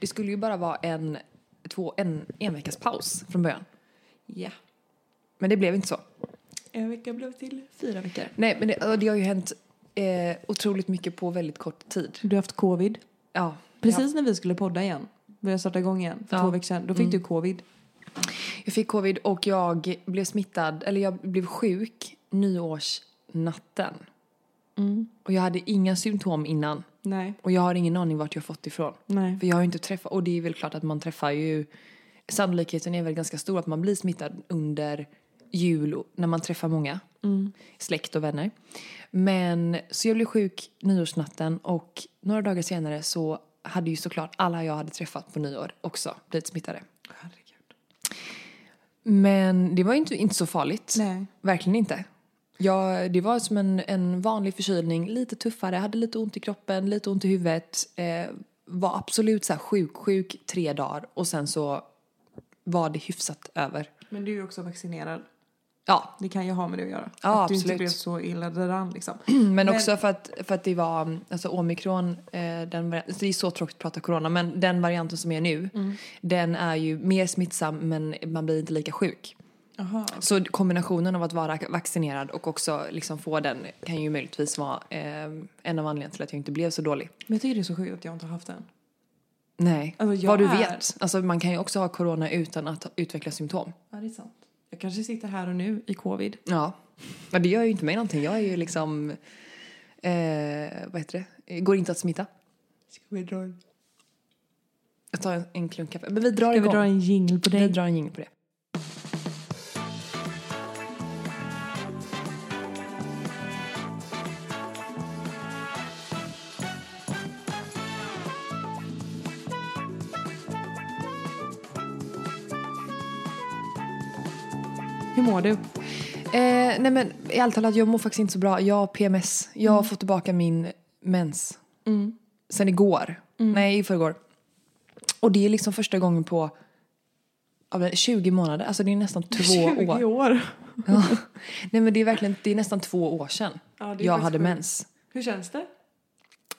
Det skulle ju bara vara en, två, en, en veckas paus från början. Ja. Men det blev inte så. En vecka blev till fyra veckor. Nej, men det, och det har ju hänt eh, otroligt mycket på väldigt kort tid. Du har haft covid. Ja. Precis när vi skulle podda igen, börja starta igång igen för Ja. två veckor sedan, då fick du covid. Jag, jag fick covid och jag blev smittad, eller jag blev sjuk nyårsnatten. Och jag hade inga symptom innan. Nej. Och jag har ingen aning vart jag fått ifrån. Nej. För jag har ju inte träffat, och det är väl klart att man träffar ju, sannolikheten är väl ganska stor att man blir smittad under jul och- när man träffar många släkt och vänner. Men så jag blev sjuk nyårsnatten och några dagar senare så hade ju såklart alla jag hade träffat på nyår också blivit smittade. Herregud. Men det var ju inte, inte så farligt. Nej. Verkligen inte. Jag, det var som en, en vanlig förkylning, lite tuffare, hade lite ont i kroppen, lite ont i huvudet. Eh, var absolut så här sjuk, sjuk tre dagar och sen så var det hyfsat över. Men du är ju också vaccinerad. Ja, Det kan ju ha med det att göra. Ja, att du inte absolut. blev så illa däran liksom. men också för att, för att det var, alltså omikron, eh, den varianten, det är så tråkigt att prata corona, men den varianten som är nu, den är ju mer smittsam men man blir inte lika sjuk. Aha. Så kombinationen av att vara vaccinerad och också liksom få den kan ju möjligtvis vara eh, en av anledningarna till att jag inte blev så dålig. Men jag tycker det är så sjukt att jag inte har haft den. Nej, Alltså, jag vad du är- vet. Alltså, man kan ju också ha corona utan att ha- utveckla symptom. Ja, det är sant. Jag kanske sitter här och nu i covid. Ja. Men det gör ju inte mig någonting. Jag är ju liksom... Eh, vad heter det? Eh, Går inte att smitta. Ska vi dra en, Jag tar en, en klunk kaffe. Men vi drar Ska vi igång. dra en jingle på dig? Vi drar en jingle på det. Hur mår du? Eh, nej men i allt talat, jag mår faktiskt inte så bra. Jag har PMS. Jag Mm. har fått tillbaka min mens. Sen igår. Mm. Nej, i förrgår. Och det är liksom första gången på ja, men 20 månader. Alltså det är nästan två 20 år. år. Ja. Nej men det är verkligen, det är nästan två år sedan Ja, det är jag faktiskt hade sjukt. mens. Hur känns det?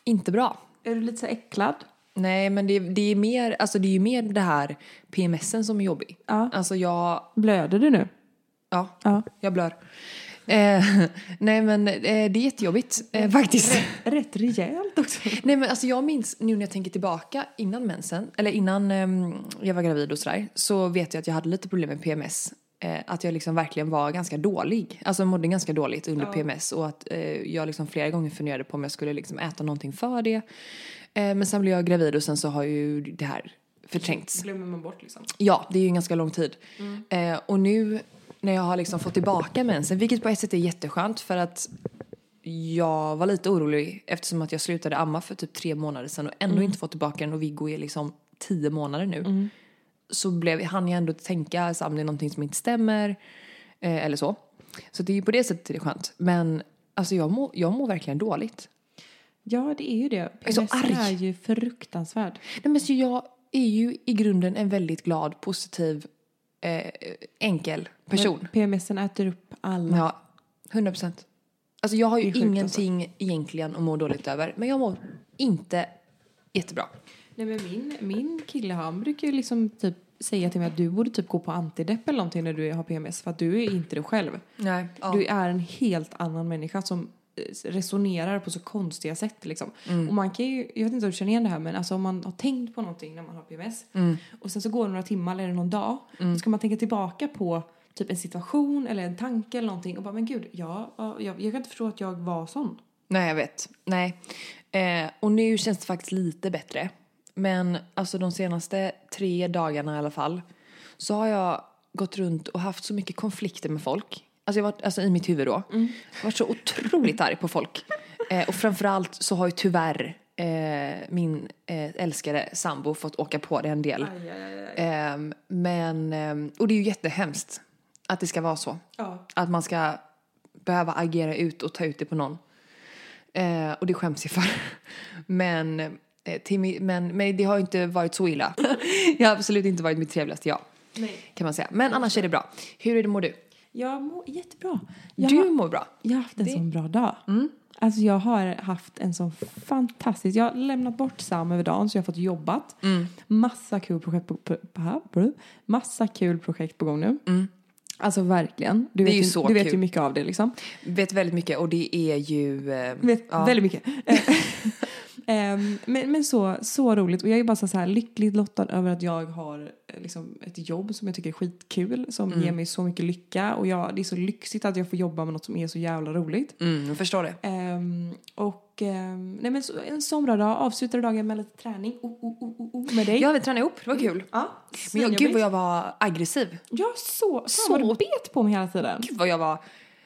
Inte bra. Är du lite så äcklad? Nej men det, det är mer, alltså det är ju mer det här PMSen som är jobbig. Ja. Alltså jag, Blöder du nu? ja, Ja. jag blör. Eh, nej men eh, det är jättejobbigt eh, faktiskt. Rätt rejält också. Nej men alltså jag minns nu när jag tänker tillbaka innan mensen, eller innan ehm, jag var gravid och sådär, så vet jag att jag hade lite problem med PMS. Eh, att jag liksom verkligen var ganska dålig, alltså mådde ganska dåligt under PMS och att eh, jag liksom flera gånger funderade på om jag skulle liksom äta någonting för det. Eh, men sen blev jag gravid och sen så har ju det här förträngts. Glömmer man bort liksom. Ja, det är ju en ganska lång tid. Eh, och nu när jag har liksom fått tillbaka mensen, vilket på ett sätt är jätteskönt för att jag var lite orolig eftersom att jag slutade amma för typ tre månader sedan och ändå inte fått tillbaka den och Viggo är liksom tio månader nu. Så blev, hann jag ändå tänka så här, om det är någonting som inte stämmer eh, eller så. Så det är ju på det sättet är det är skönt. Men alltså jag mår jag mår verkligen dåligt. Ja, det är ju det. är så arg. är ju fruktansvärd. Nej, men så jag är ju i grunden en väldigt glad, positiv, eh, enkel person. PMSen äter upp alla. Ja, 100 procent. Alltså jag har Det ju är sjukt, alltså. ingenting egentligen att må dåligt över. Men jag mår inte jättebra. Nej, men min, min kille han brukar ju liksom typ säga till mig att du borde typ gå på antidepp eller någonting när du har PMS för att du är inte du själv. Nej. Ja. Du är en helt annan människa som eh, resonerar på så konstiga sätt liksom. Mm. Och man kan ju, jag vet inte om du känner igen det här men alltså om man har tänkt på någonting när man har PMS Mm. och sen så går det några timmar eller någon dag så ska man tänka tillbaka på typ en situation eller en tanke eller någonting och bara men gud ja, ja, jag, jag kan inte förstå att jag var sån. Nej, jag vet. Nej. Eh, och nu känns det faktiskt lite bättre. Men alltså de senaste tre dagarna i alla fall så har jag gått runt och haft så mycket konflikter med folk. Alltså jag har varit, alltså i mitt huvud då. Mm. Jag har varit så otroligt arg på folk. Eh, och framförallt så har ju tyvärr eh, min eh, älskade sambo fått åka på det en del. Ehm, men, ehm, och det är ju jättehemskt att det ska vara så. Ja. Att man ska behöva agera ut och ta ut det på någon. Eh, och det skäms jag för. Men, eh, till, mi- men, men det har ju inte varit så illa. jag har absolut inte varit mitt trevligaste jag. Nej. Kan man säga. Men annars är det bra. Hur är det, mår du? Jag mår jättebra. Jag, har, Du mår bra. jag har haft en det- Mm. sån bra dag. Alltså jag har haft en sån fantastisk... Jag har lämnat bort Sam över dagen så jag har fått jobbat. Mm. Massa kul projekt på, på, på, på, massa kul projekt på gång nu. Alltså verkligen. Du, Mm. Det är vet, ju så du vet kul. ju mycket av det liksom. Vet väldigt mycket och det är ju... Eh, Vet ja. väldigt mycket. Eh, Ehm, men men så, så roligt. Och jag är bara så så här lyckligt lottad över att jag har eh, liksom, ett jobb som jag tycker är skitkul. Som Mm. ger mig så mycket lycka. Och jag, det är så lyxigt att jag får jobba med något som är så jävla roligt. Mm, jag förstår det. Ehm, och ehm, nej men så, en sån bra dag. Avslutade dagen med lite träning. Oh, oh, oh, oh, oh, med dig. Ja, vi tränade ihop. Det var kul. Ja, Men jag, svinjobbigt. gud vad jag var aggressiv. Jag så, Så- så vad du bet på mig hela tiden. Gud vad jag var...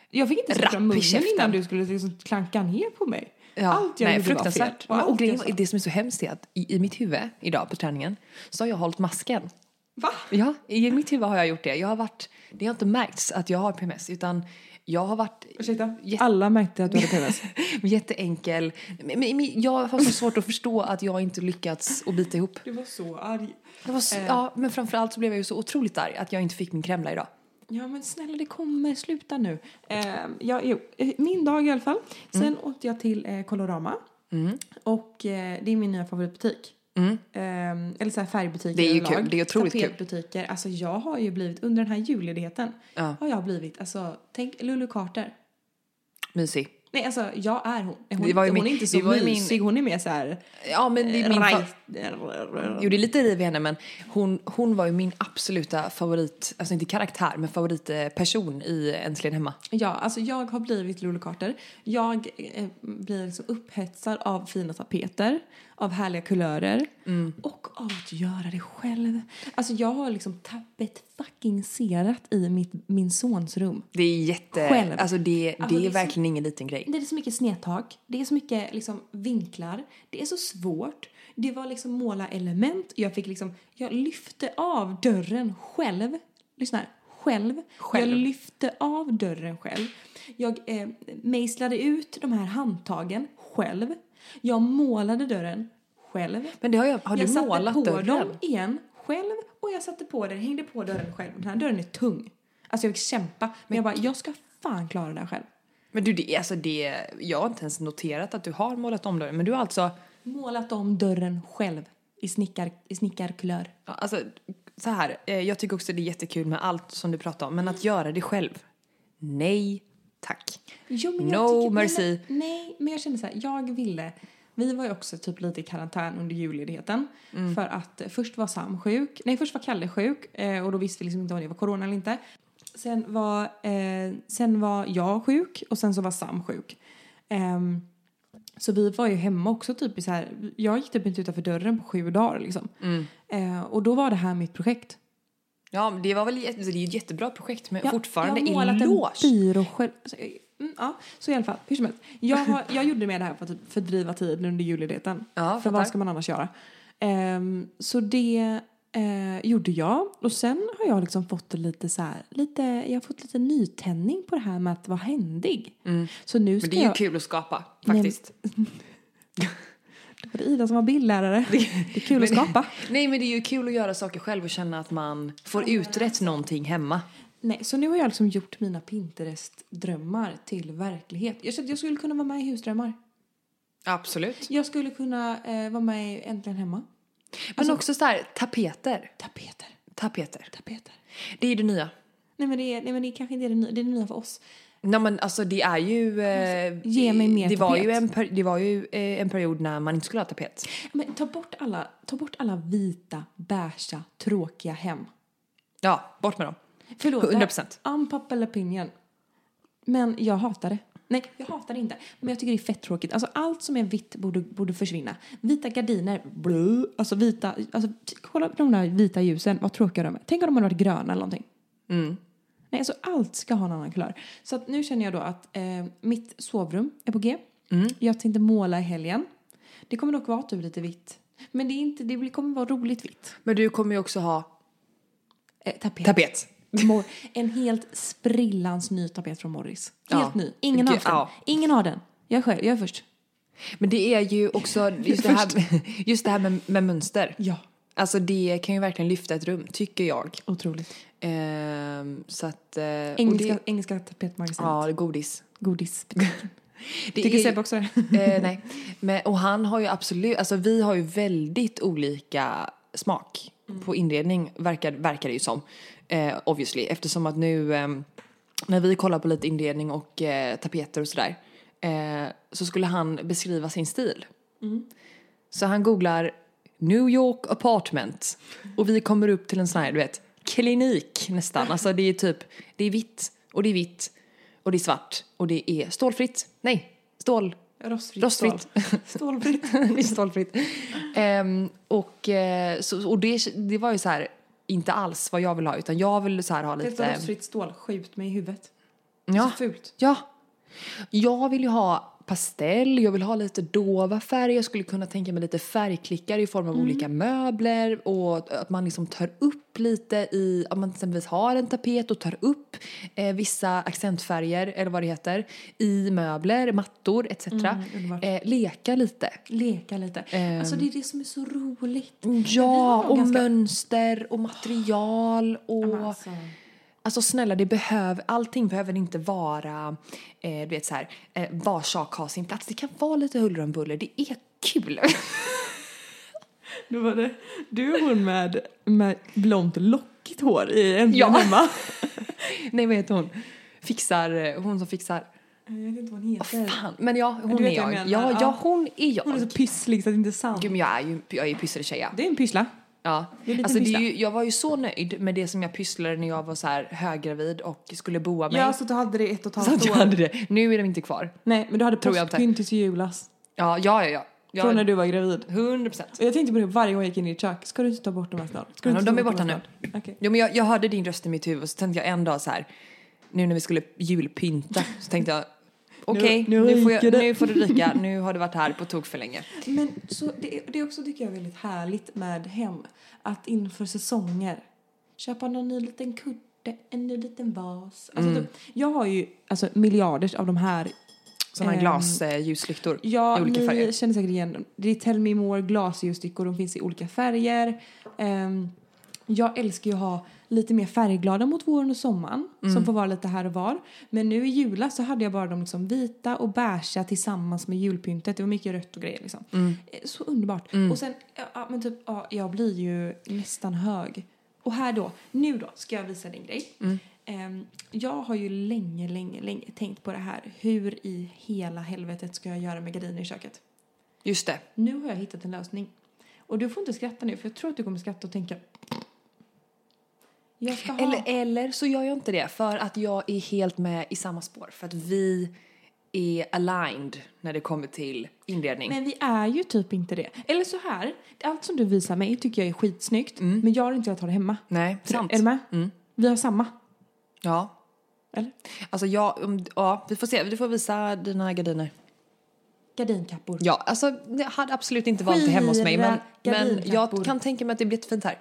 Jag fick inte Rapp i släppa munnen käften. innan du skulle liksom klanka ner på mig. Ja, Allt jag nej, gjorde var fel. fruktansvärt. Men, Allt och grejen, jag var- sa. det som är så hemskt är att i, i mitt huvud idag på träningen så har jag hållit masken. Va? Ja, i mitt huvud har jag gjort det. Jag har varit, det har inte märkts att jag har PMS utan jag har varit Ursäkta? Jätte- Alla märkte att du hade PMS. jätteenkel. Men, men, men jag har så svårt att förstå att jag inte lyckats att bita ihop. Eh. du var så arg. Det var så, ja, men framförallt så blev jag ju så otroligt arg att jag inte fick min kremla idag. Ja men snälla det kommer, sluta nu. Eh, ja, jo, eh, min dag i alla fall. Sen Mm. åkte jag till eh, Colorama. Och eh, det är min nya favoritbutik. Eh, eller så här färgbutiker Mm. Det är ju överlag. kul, det är otroligt kul. Tapetbutiker. Alltså jag har ju blivit, under den här julledigheten. Ja. Har jag blivit, alltså tänk Lulu Carter. Mysig. Nej alltså jag är hon. Hon, Det var ju hon min- är inte det så var ju min- mysig, hon är mer så här. Ja, men det är min fa- Right. gjorde lite riv i henne men hon, hon var ju min absoluta favorit, alltså inte karaktär men favoritperson i Äntligen Hemma. Ja, alltså jag har blivit Lulu Carter. Jag eh, blir liksom upphetsad av fina tapeter, av härliga kulörer och av att göra det själv. Alltså jag har liksom tappet fucking serat i mitt, min sons rum. Det är jätte, Själv. alltså det, det Alltså, är det är så- verkligen ingen liten grej. Det är så mycket snedtak, det är så mycket liksom vinklar, det är så svårt. Det var liksom måla element, jag fick liksom, jag lyfte av dörren själv. Lyssna här, själv. Själv. Jag lyfte av dörren själv. Jag eh, mejslade ut de här handtagen själv. Jag målade dörren själv. Men det har jag, har jag du satte på målat dem dörren? igen själv och jag satte på den, hängde på dörren själv. Den här dörren är tung. Alltså jag fick kämpa, men jag bara, jag ska fan klara det här själv. Men du, det, alltså det, jag har inte ens noterat att du har målat om dörren men du har alltså, målat om dörren själv i, snickar, i snickarkulör. ja, alltså så här, eh, jag tycker också det är jättekul med allt som du pratar om men att göra det själv, nej tack. Jo, No nej, men- mercy. nej, men jag kände så här, jag ville... Vi var ju också typ lite i karantän under julledigheten. För att eh, först var Sam sjuk, nej först var Kalle sjuk eh, och då visste vi liksom inte om det var corona eller inte. Sen var, eh, sen var jag sjuk och sen så var Sam sjuk. Ehm, så vi var ju hemma också typ i så här, jag gick typ inte utanför dörren på sju dagar liksom. Eh, och då var det här mitt projekt. Ja men det var väl, jä- alltså, det är ju ett jättebra projekt men Ja, fortfarande jag har i målat lås. en byrå själv. Så, eh, mm, ja, så i alla fall. Hur som helst. Jag, har, jag gjorde med det här för att typ fördriva tiden under julledigheten. Ja, för fattar. vad ska man annars göra? Ehm, så det eh, gjorde jag. Och sen har jag liksom fått det lite så här, lite, jag har fått lite nytändning på det här med att vara händig. Så nu Mm. Men ska det är ju jag... kul att skapa men- faktiskt. Var det Ida som var bildlärare? Det, är kul att Men- skapa. Nej men det är ju kul att göra saker själv och känna att man får uträtt alltså- någonting hemma. Nej, så nu har jag liksom gjort mina Pinterest-drömmar till verklighet. Jag kände att jag skulle kunna vara med i Husdrömmar. Absolut. Jag skulle kunna eh, vara med i Äntligen Hemma. Men Alltså- också så här, tapeter. Tapeter. Tapeter. Tapeter. Det är ju det nya. Nej men det, är, nej, men det är kanske inte är det nya, det är det nya för oss. Nej men alltså det är ju... Eh, Ge mig mer det var tapet. ju, en, per- det var ju eh, en period när man inte skulle ha tapet. Men ta bort alla, ta bort alla vita, beiga, tråkiga hem. Ja, bort med dem. Förlåt. 100%. Unpopular opinion. Men jag hatar det. Nej, jag hatar det inte. Men jag tycker det är fett tråkigt. Alltså allt som är vitt borde, borde försvinna. Vita gardiner, blö. Alltså vita, alltså t- kolla på de där vita ljusen, vad tråkiga de är. Tänk om de hade varit gröna eller någonting. Nej, alltså allt ska ha en annan kulör. Så att nu känner jag då att eh, mitt sovrum är på G. Jag tänkte måla i helgen. Det kommer dock vara typ lite vitt. Men det, är inte, det blir- kommer vara roligt vitt. Men du kommer ju också ha Eh, tapet. tapet. Mor- en helt sprillans ny tapet från Morris. Helt Ja. ny. Ingen har Gud, haft den. ja. Ingen har den. Jag själv, jag är först. Men det är ju också just det här, just det här med, med mönster. Ja. Alltså det kan ju verkligen lyfta ett rum, tycker jag. Otroligt. Ehm, så att... eh, och Engelska, Det, engelska tapetmagasinet. ja, det är godis. Godis. Det Tycker är- Sebbe också det? Eh, nej. Men, och han har ju absolut, alltså vi har ju väldigt olika smak på inredning verkar, verkar det ju som. Eh, obviously, eftersom att nu ehm, när vi kollar på lite inredning och eh, tapeter och sådär eh, så skulle han beskriva sin stil. Så han googlar New York apartment och vi kommer upp till en sån här, du vet, klinik nästan. Alltså det är typ, det är vitt och det är vitt och det är svart och det är stålfritt. Nej, stål Rostfritt. Rostfritt. Stål. Stålfritt. det är stålfritt. Ehm, och eh, så, och det, det var ju så här, inte alls vad jag vill ha utan jag vill så här ha Detta lite... rostfritt stål, skjut mig i huvudet. Ja, Så fult. ja. Jag vill ju ha pastell, jag vill ha lite dova färger, jag skulle kunna tänka mig lite färgklickar i form av Mm. olika möbler och att man liksom tar upp lite i, om man till exempel har en tapet och tar upp eh, vissa accentfärger eller vad det heter i möbler, mattor etc. Mm, underbart. eh, leka lite. Leka lite. Alltså det är det som är så roligt. Ja, Vi har och ganska- mönster och material och... Men alltså. alltså. snälla, det behöver, allting behöver inte vara, eh, du vet så här, eh, var sak har sin plats. Det kan vara lite huller om buller, det är kul. Då var det du och hon med, med blont lockigt hår i en Ja. hemma. Nej, vad heter hon? Fixar, eh, hon som fixar. Jag vet inte vad hon heter. Fan, men ja, hon vet är vad jag jag. menar, ja, ja, ja. hon är jag. Hon är så pysslig så det är inte är sant. Gud, men jag är ju, jag är ju pysslig ja. Det är en pyssla. Ja, Det är lite alltså det är pyssla. ju, jag var ju så nöjd med det som jag pysslade när jag var så här höggravid och skulle boa mig. Ja, så du hade det ett och ett så att halvt jag år. hade det. Nu är de inte kvar. Nej, men du hade Tror jag påskpynt tills i julas. Ja, ja, ja. ja. Jag- Från när du var gravid. 100 procent. Och jag tänkte på det varje gång jag gick in i ditt kök. Ska du inte ta bort de här snart? Ska du Ja, inte de ta är bort borta här snart? Okej. Ja, men jag, jag hörde din röst i mitt huvud och så tänkte jag en dag så här, nu när vi skulle julpynta så tänkte jag okej, Nu- nu nu, får jag- ryker det. nu får det ryka, nu har det varit här på tok för länge. Men så det, är- det är också tycker jag väldigt härligt med hem. Att inför säsonger köpa någon ny liten kudde, en ny liten vas. Alltså Mm. typ, jag har ju alltså, miljarder av de här. Sådana här Ehm, glasljuslyktor Ja, i olika ni färger. känner säkert igen dem. Det är Tell Me More glasljusstickor, de finns i olika färger. Ehm, jag älskar ju att ha lite mer färgglada mot våren och sommaren Mm. som får vara lite här och var. Men nu i jula så hade jag bara de liksom vita och beigea tillsammans med julpyntet. Det var mycket rött och grejer liksom. Mm. Eh, Så underbart. Och sen, ja, ja, men typ, ja, jag blir ju nästan hög. Och här då, nu då ska jag visa din grej. Mm. Ehm, jag har ju länge, länge, länge tänkt på det här. Hur i hela helvetet ska jag göra med gardiner i köket? Just det. Nu har jag hittat en lösning. Och du får inte skratta nu för jag tror att du kommer skratta och tänka. Jag ska ha... Eller, eller så gör jag inte det för att jag är helt med i samma spår för att vi är aligned när det kommer till inredning. Men vi är ju typ inte det. Eller så här, allt som du visar mig tycker jag är skitsnyggt. Men jag har inte velat ha det hemma. Nej, Mm. sant. Mm. Är du med? Vi har samma. Ja. Eller? Alltså jag, um, ja, vi får se, du får visa dina gardiner. Gardinkappor. Ja, alltså det hade absolut inte valt det hemma hos mig men, Skira men jag gardinkappor. kan tänka mig att det blir jättefint här.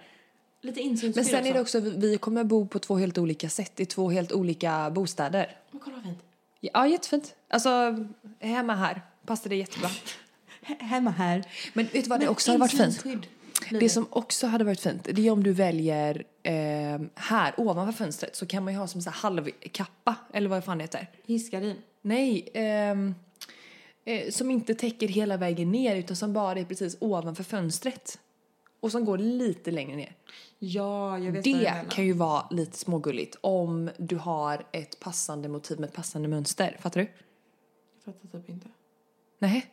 Lite insynsfyr Men sen är det också. också, vi- vi kommer bo på två helt olika sätt i två helt olika bostäder. Men kolla vad fint. Ja, jättefint. Alltså hemma här passar det jättebra. He- hemma här. Men vet du vad det också hade varit fint? Insynsskydd blir Det som också hade varit fint, det är om du väljer eh, här ovanför fönstret så kan man ju ha som så här halvkappa eller vad fan det heter. Hissgardin. Nej, ehm, eh, som inte täcker hela vägen ner utan som bara är precis ovanför fönstret. Och som går lite längre ner. Ja, jag vet vad du Det menar. kan ju vara lite smågulligt om du har ett passande motiv med ett passande mönster. Fattar du? Jag fattar typ inte. Nej,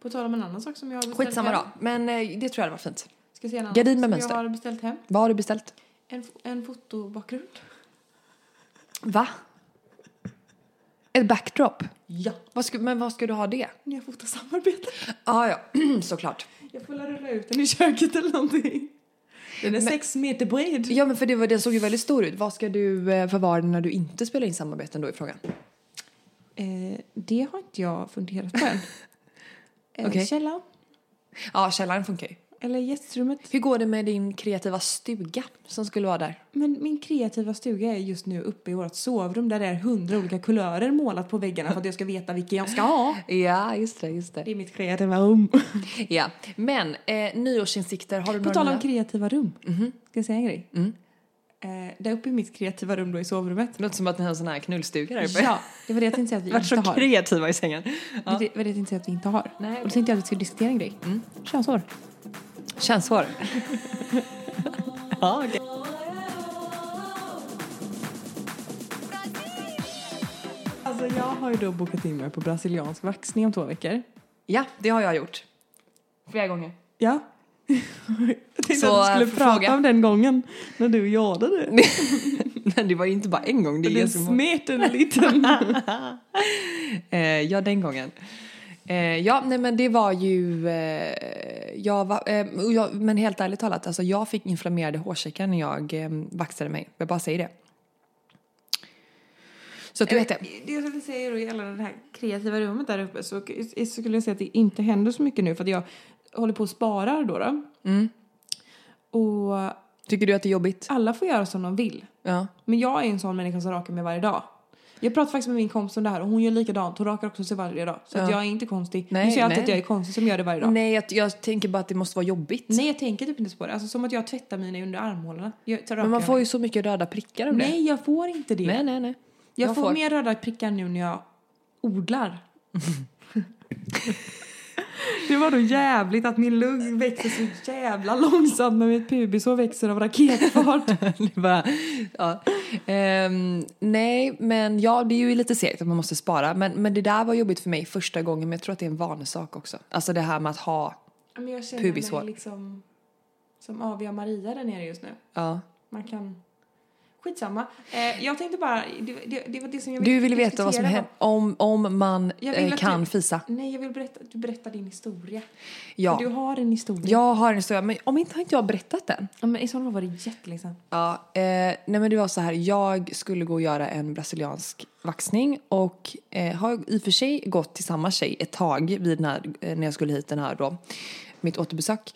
På tal om en annan sak som jag har beställt skitsamma hem. då. Men eh, det tror jag var fint. Ska se en annan Gardin sak med som mönster. Jag har beställt hem. Vad har du beställt? En, fo- en fotobakgrund. Va? Ett backdrop? Ja. Vad ska, men vad ska du ha det? När jag fotar samarbete. Ah, ja, såklart. Jag får väl rulla ut den i köket eller någonting. Den är sex meter bred. Ja, men för det var, den såg ju väldigt stor ut. Vad ska du eh, förvara den när du inte spelar in samarbeten då i frågan? Eh, det har inte jag funderat på än. eh, Okej. Källa. Ja, källaren funkar ju. Eller gästrummet. Hur går det med din kreativa stuga som skulle vara där? Men min kreativa stuga är just nu uppe i vårt sovrum där det är hundra olika kulörer målat på väggarna för att jag ska veta vilken jag ska ha. Ja, just det, just det. Det är mitt kreativa rum. Ja, men eh, nyårsinsikter, har du På några tal om nya? kreativa rum. Mhm. Ska jag säga en grej? Mm. Eh, där uppe i mitt kreativa rum då i sovrummet. Det låter som att ni har en sån här knullstuga där uppe. Ja, det var det jag tänkte säga att vi Vart inte så har. kreativa i sängen. Det var det jag tänkte säga att vi inte har. Nej, Och då tänkte jag att vi skulle diskutera en grej. Mm. Könshår. Könshår. ja, okej. Alltså jag har ju då bokat in mig på brasiliansk vaxning om två veckor. ja, det har jag gjort. Flera gånger. Ja. Jag tänkte Så, att du eh, skulle prata fråga. om den gången när du jadade. Nej, det var ju inte bara en gång. Det är Du ganska många. smet en liten. Eh, ja, den gången. Eh, ja, nej men det var ju... Eh, jag var, eh, och jag, men helt ärligt talat, alltså jag fick inflammerade hårsäckar när jag eh, vaxade mig. Jag bara säger det. Så att du vet det. Det jag skulle säga då gällande det här kreativa rummet där uppe så, så skulle jag säga att det inte händer så mycket nu för att jag håller på och sparar då. då. Mm. Och Tycker du att det är jobbigt? alla får göra som de vill. Ja. Men jag är en sån människa som rakar mig varje dag. Jag pratar faktiskt med min kompis om det här och hon gör likadant. Hon rakar också sig varje dag. Så att jag är inte konstig. Nej, nu säger jag alltid nej. att jag är konstig som gör det varje dag. Nej. Nej, jag, jag tänker bara att det måste vara jobbigt. jag tänker typ inte på det. Alltså som att jag tvättar mina under armhålorna. Jag, så men man får ju så mycket röda prickar av det. Nej, jag får inte det. nej, nej. nej. jag, får, mer röda prickar nu när jag odlar. det var då jävligt att min lugg växer så jävla långsamt men mitt pubishår växer av raketfart. Det bara, ja. Ehm, nej, men ja, det är ju lite segt att man måste spara. Men, men det där var jobbigt för mig första gången, men jag tror att det är en vanesak också. Alltså det här med att ha, men jag känner Pubishår. mig liksom som aviga Maria där nere just nu. ja. Man kan... Skitsamma. Eh, jag tänkte bara... Det, det, det var det som jag Du vill veta vad som diskutera. händer om, om man Jag vill eh, att kan du- fisa. Nej, jag vill berätta, du berättar din historia. Ja. För Du har en historia. Jag har en historia, men om inte har inte jag berättat den? Ja, men I sådana fall var det jättelänge sedan. Ja, eh, nej men det var så här, jag skulle gå och göra en brasiliansk vaxning och eh, har i och för sig gått till samma tjej ett tag vid den här, eh, när jag skulle hit den här då, mitt återbesök.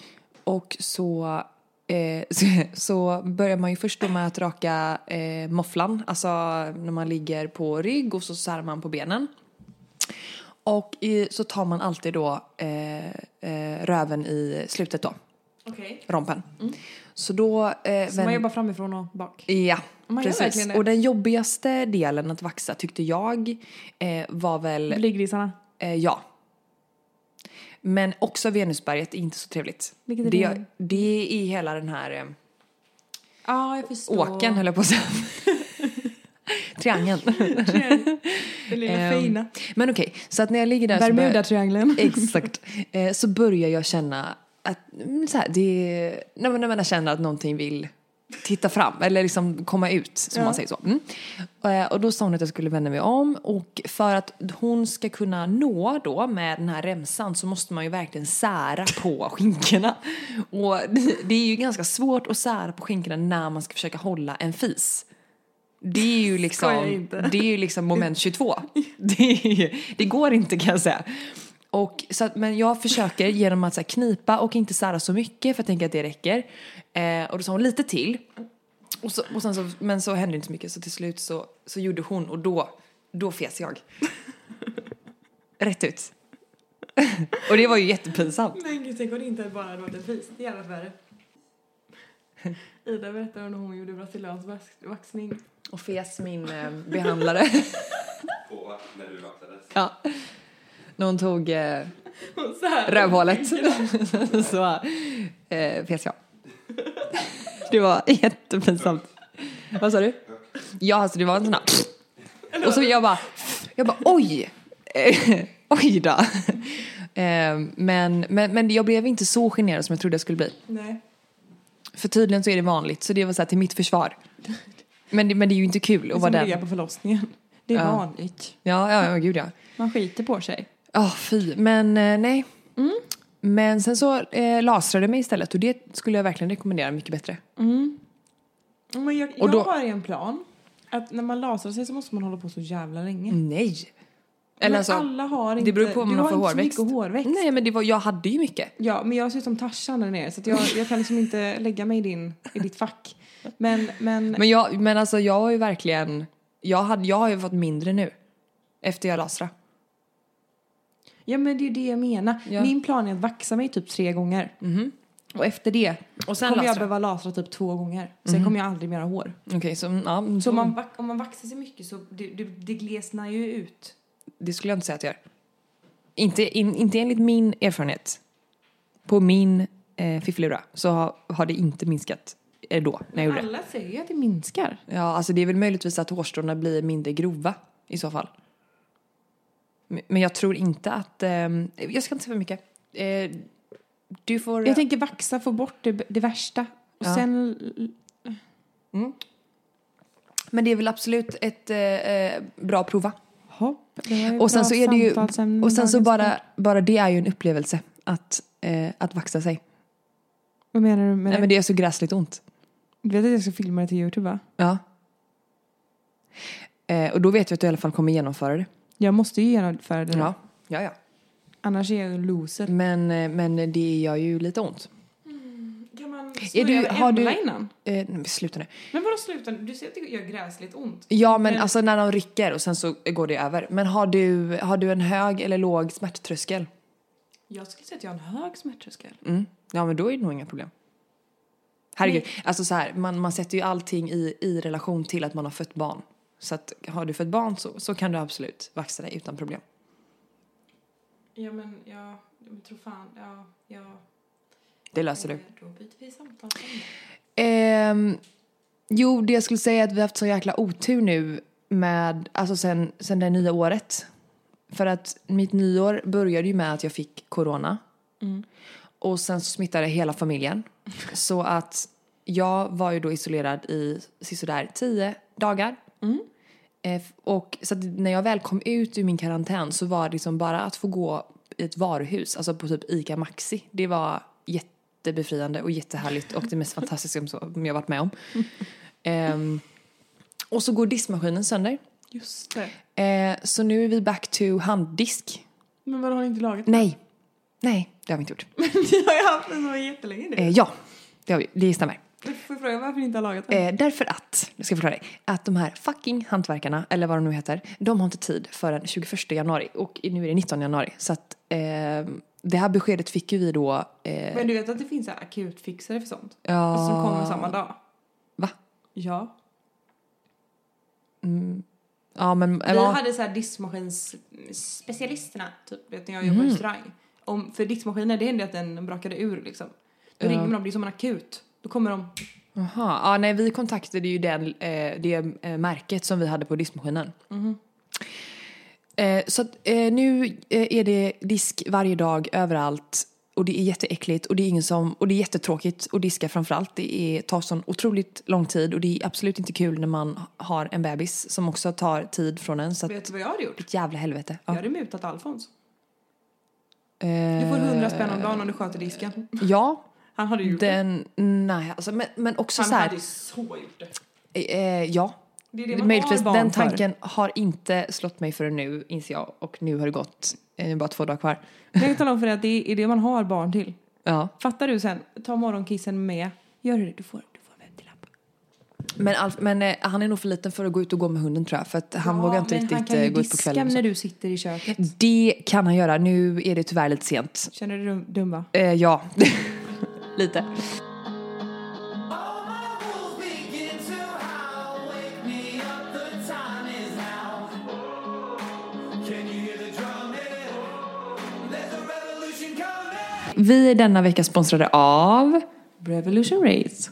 Och så, eh, så, så börjar man ju först då med att raka eh, mofflan, alltså när man ligger på rygg och så sär man på benen. Och i, så tar man alltid då eh, eh, röven i slutet då, Okej. rompen. Så då... Eh, Mm. Så man vänder- jobbar framifrån och bak. Ja, Man gör precis. verkligen det. Och den jobbigaste delen att vaxa tyckte jag eh, var Mm. väl, Blygrisarna. eh, ja. Men också Venusberget är inte så trevligt. Vilket är det, det? det är hela den här eh, Ja, jag förstår. åken höll jag på att säga. Triangeln. Den lilla Ehm, fina. Men okej, så att när jag ligger där så börjar- Bermudatriangeln. Exakt. Eh, så börjar jag känna att, mm, så här, det, när, man, när man känner att någonting vill titta fram eller liksom komma ut som man säger så. Mm. Eh, och då sa hon att jag skulle vända mig om och för att hon ska kunna nå då med den här remsan så måste man ju verkligen sära på skinkorna. Och det, det är ju ganska svårt att sära på skinkorna när man ska försöka hålla en fis. Det är ju Skojar liksom, inte. det är ju liksom moment 22. Det, är, ju- det går inte kan jag säga. Och, så att, men jag försöker genom att så här, knipa och inte sära så mycket för jag tänker att det räcker. Eh, och då sa hon lite till. Och så, och sen så, men så hände inte så mycket så till slut så, så gjorde hon och då, då fes jag. Rätt ut. och det var ju jättepinsamt. Men gud, tänk om det inte bara hade varit en fis. Det hade varit värre. Ida berättade om när hon gjorde brasiliansk vax- vaxning. Och fes min eh, behandlare. på när du vaxades. ja. När hon tog eh, Och så här. rövhålet så eh, fes jag. Det var jättepinsamt. Vad sa du? Ja, alltså det var en sån här... Och så jag bara, jag bara oj! Eh, Oj då. Eh, Men, men, men jag blev inte så generad som jag trodde jag skulle bli. Nej. För tydligen så är det vanligt, så det var så här till mitt försvar. Men det, men det är ju inte kul att vara Som ligga den. på förlossningen. Det är Ja. vanligt. Ja, ja, ja, gud ja. Man skiter på sig. Ja, fy. Men eh, nej. Mm. Men sen så eh, lasrade jag mig istället och det skulle jag verkligen rekommendera mycket bättre. Men jag, Och jag då- har en plan. Att när man lasrar sig så måste man hålla på så jävla länge. Nej! Mm. Eller men alltså, alla har inte... det beror på om du man har får inte så hårväxt. mycket hårväxt. Nej, men det var, jag hade ju mycket. Ja, men jag ser ut som Tarzan där nere så att jag, jag kan liksom inte lägga mig i, din, i ditt fack. Men, men, Men, jag, men alltså, jag har ju verkligen... Jag, hade, jag har ju fått mindre nu, efter jag lasra. ja, men det är ju det jag menar. Ja. Min plan är att vaxa mig typ tre gånger. Och efter det Och sen kommer jag lasra. behöva lasra typ två gånger. Sen kommer jag aldrig mer ha hår. Mm. Okej, så, ja, Så så om, man, vax- om man vaxar sig mycket så det, det, det glesnar ju ut. det skulle jag inte säga att jag gör. Inte, in, inte enligt min erfarenhet. På min eh, fifflura så har, har det inte minskat eh, då, när jag gjorde det. Alla säger ju att det minskar. Ja, alltså det är väl möjligtvis att hårstråna blir mindre grova i så fall. Men- Men jag tror inte att... ehm, jag ska inte säga för mycket. Eh, du får... Jag tänker vaxa, få bort det, det värsta. Och Ja. sen... men det är väl absolut ett eh, eh, bra att prova. Hopp. det var ju Och sen bra så är Mm, det ju... samtalsämne, Och sen så dagens bara, podd. bara det är ju en upplevelse att, eh, att vaxa sig. Vad menar du med Nej, det? men det är så gräsligt ont. Du vet att jag ska filma det till Youtube va? Ja. Eh, och då vet jag att du i alla fall kommer genomföra det. Jag måste ju genomföra det. Ja, ja, ja. Annars är jag ju en loser. Men, eh, men det gör ju lite ont. Kan man Är du- snurra har Emla du- innan? Eh, nej, men sluta nu. Men vadå sluta? Du säger att det gör gräsligt ont. Ja, men, Men- alltså när de rycker och sen så går det över. Men har du, har du en hög eller låg smärttröskel? Jag skulle säga att jag har en hög smärttröskel. Mm. Ja, men då är det nog inga problem. Herregud, alltså så här, man, man sätter ju allting i, i relation till att man har fött barn. Så att har du fött barn så, så kan du absolut vaxa dig utan problem. Ja men jag, jag tror fan, ja, ja. Det löser du. Då byter vi samtal. Ehm, jo, det jag skulle säga är att vi har haft så jäkla otur nu med, alltså sen, sen det nya året. För att mitt nyår började ju med att jag fick corona. Och sen så smittade hela familjen. Så att jag var ju då isolerad i sådär tio dagar. Eh, f- Och så att när jag väl kom ut ur min karantän så var det liksom bara att få gå i ett varuhus, alltså på typ ICA Maxi. Det var jättebefriande och jättehärligt och det mest fantastiska som som jag varit med om. Ehm, och så går diskmaskinen sönder. Just det. Eh, så nu är vi back to handdisk. Men vadå har ni inte lagat? Nej, nej, det har vi inte gjort. Ni har ju haft den så jättelänge nu. Eh, ja, det har vi. Det stämmer. Jag får fråga varför ni inte har lagat den? Eh, därför att, nu ska jag förklara dig, att de här fucking hantverkarna, eller vad de nu heter, de har inte tid förrän 21 januari och nu är det 19 januari. Så att eh, det här beskedet fick ju vi då, eh, Men du vet att det finns så här akutfixare för sånt? Ja. Alltså, Som kommer samma dag? va? Ja. Ja men, Vi ja, hade så här diskmaskinsspecialisterna, typ, vet när jag Mm. jobbade i restaurang. Om, för diskmaskiner, det hände att den brakade ur liksom. Då ringer man dem, det är som en akut. Då kommer de, aha, ja nej vi kontaktade ju den, eh, det eh, märket som vi hade på diskmaskinen. Eh, så att, eh, nu eh, är det disk varje dag överallt och det är jätteäckligt och det är ingen som och det är jättetråkigt att diska framförallt. Det är, tar sån otroligt lång tid och det är absolut inte kul när man har en bebis som också tar tid från en så att vet du vad jag hade gjort? ett jävla helvete. Jag Ja. hade mutat Alfons. Eh, Du får hundra spänn om dagen om du sköter disken. ja, Eh, Han hade gjort det. den, nej alltså men, men också Han så här, hade så gjort det. eh, ja. Det är det man Möjligtvis har barn den för. tanken har inte slått mig förrän nu inser jag och nu har det gått eh, bara två dagar kvar. Jag kan tala om för dig att det är det man har barn till. Ja. Fattar du sen? Ta morgonkissen med. Gör du det, du får, du får en ventilapp. Men, Alf, men eh, han är nog för liten för att gå ut och gå med hunden tror jag. För att han vågar inte men han riktigt kan ju eh, gå ut på diska kvällen. och så. när du sitter i köket. Det kan han göra. Nu är det tyvärr lite sent. Känner du dig dum- dum va? Eh, ja, lite. Vi är denna vecka sponsrade av Revolution Race.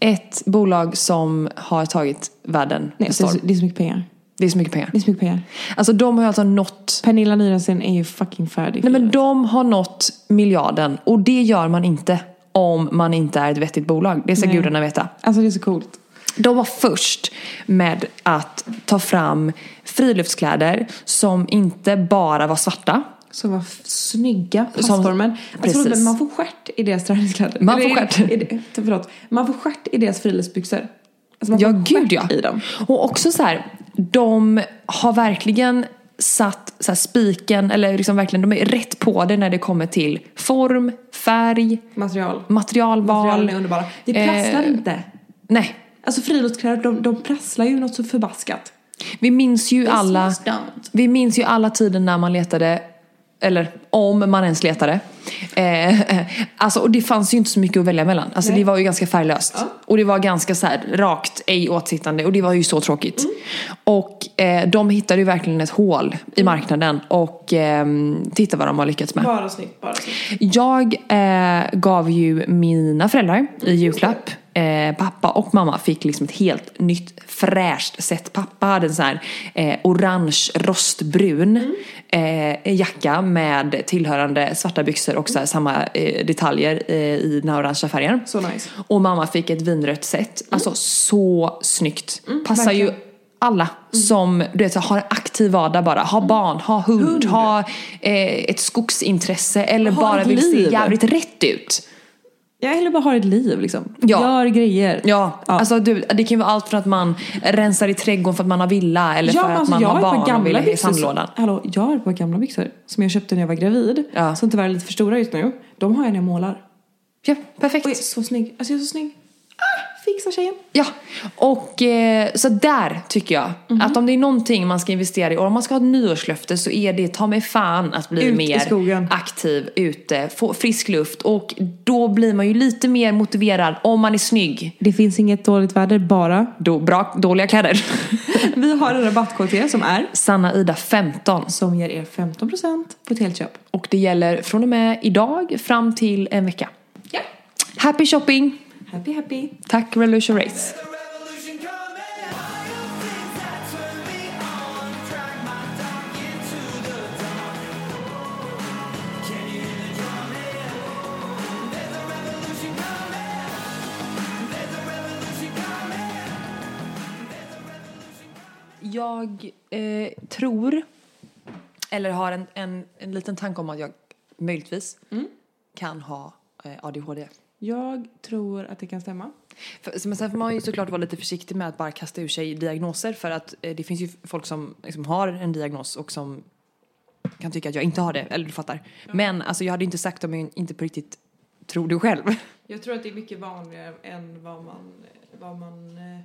ett bolag som har tagit världen Nej, med storm. det är så mycket pengar. Det är så mycket pengar. Det är så mycket pengar. Alltså de har ju alltså nått Pernilla Nyrensen är ju fucking färdig. Nej men de har nått miljarden och det gör man inte om man inte är ett vettigt bolag. Det ska Nej. gudarna veta. Alltså det är så coolt. De var först med att ta fram friluftskläder som inte bara var svarta. Så vad f- snygga plattformen. Alltså, Precis. förlåt, men man får stjärt i deras träningskläder. Man Eller får är- stjärt. är det- Förlåt. Man får stjärt i deras friluftsbyxor. Alltså man Ja får gud stjärt ja. i dem. Och också så här, de har verkligen satt så här, spiken, eller liksom verkligen, de är rätt på det när det kommer till form, färg, Material. materialval. Materialen är underbara. Det prasslar Eh. inte. Nej, Alltså friluftskläder, de, de prasslar ju något så förbaskat. vi minns ju alla... This was dumped. Vi minns ju alla tiden när man letade, eller om man ens letade. Eh, eh, alltså, och det fanns ju inte så mycket att välja mellan. Alltså, Nej. det var ju ganska färglöst. Och det var ganska så här, rakt, ej åtsittande. Och det var ju så tråkigt. Och eh, de hittade ju verkligen ett hål i marknaden. Och eh, titta vad de har lyckats med. Bara snyggt, bara snyggt. Jag eh, gav ju mina föräldrar i julklapp. Eh, pappa och mamma fick liksom ett helt nytt fräscht sätt. Pappa hade en sån här eh, orange rostbrun Mm. eh, jacka med tillhörande svarta byxor och så här, samma eh, detaljer eh, i den här orangea färgen. Så nice. Mm. Och mamma fick ett vinrött set. Alltså så snyggt. Passar ju verkligen. Mm. alla som du vet, så har en aktiv vardag bara. Ha barn, ha hund, ha eh, ett skogsintresse eller Ha bara ett vill se liv. jävligt rätt ut. Jag hellre bara har ett liv liksom. Ja. Gör grejer. Ja, alltså du, det kan ju vara allt från att man rensar i trädgården för att man har villa eller Ja, för men att alltså, man jag har har ett par barn och gamla vill i byxor. sandlådan. Som, hallå, jag har ett par gamla byxor som jag köpte när jag var gravid. Ja. Som tyvärr är lite för stora just nu. De har jag när jag Ja, målar. Och jag är perfekt. så snygg. Alltså jag är så snygg. Ah, fixa tjejen. Ja, och eh, så där tycker jag Mhm. att om det är någonting man ska investera i och om man ska ha ett nyårslöfte så är det ta mig fan att bli Ut i mer skogen. aktiv ute, få frisk luft och då blir man ju lite mer motiverad om man är snygg. Det finns inget dåligt väder, bara. Då, bra, dåliga kläder. Vi har en rabattkod till er som är Sanna Ida 15 som ger er 15% på ett helt köp. och det gäller från och med idag fram till en vecka. Ja. Happy shopping! Happy happy. Tack Revolution Race. The revolution coming. Wild things that turn me on. Drag my dog into the dark. Can you hear the drumming? There's a revolution coming. There's a revolution coming. There's a revolution coming. Jag eh, tror, eller har en, en, en liten tanke om att jag möjligtvis kan ha eh, ADHD. Jag tror att det kan stämma. För, men sen får man ju såklart vara lite försiktig med att bara kasta ur sig diagnoser för att eh, det finns ju folk som liksom, har en diagnos och som kan tycka att jag inte har det, eller du fattar. Men alltså, jag hade inte sagt om jag inte på riktigt tror det själv. Jag tror att det är mycket vanligare än vad man, vad man eh,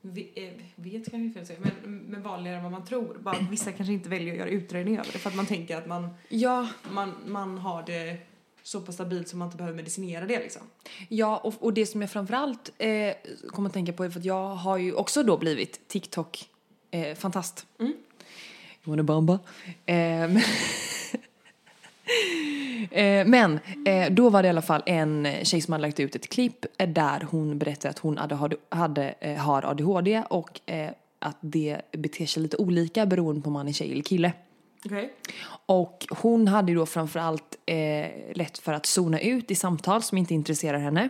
ve- eh, vet kanske är fel att säga, men, men vanligare än vad man tror. Bara att vissa kanske inte väljer att göra utredning över det för att man tänker att man, Ja, man, man har det så pass stabilt som man inte behöver medicinera det liksom. Ja, och, och det som jag framförallt eh, kommer att tänka på är för att jag har ju också då blivit TikTok-fantast. You wanna bamba? Eh, men- eh, men eh, då var det i alla fall en tjej som hade lagt ut ett klipp eh, där hon berättade att hon hade, hade, eh, har ADHD och eh, att det beter sig lite olika beroende på om man är tjej eller kille. Okej. Och hon hade ju då framförallt eh, lätt för att zona ut i samtal som inte intresserar henne.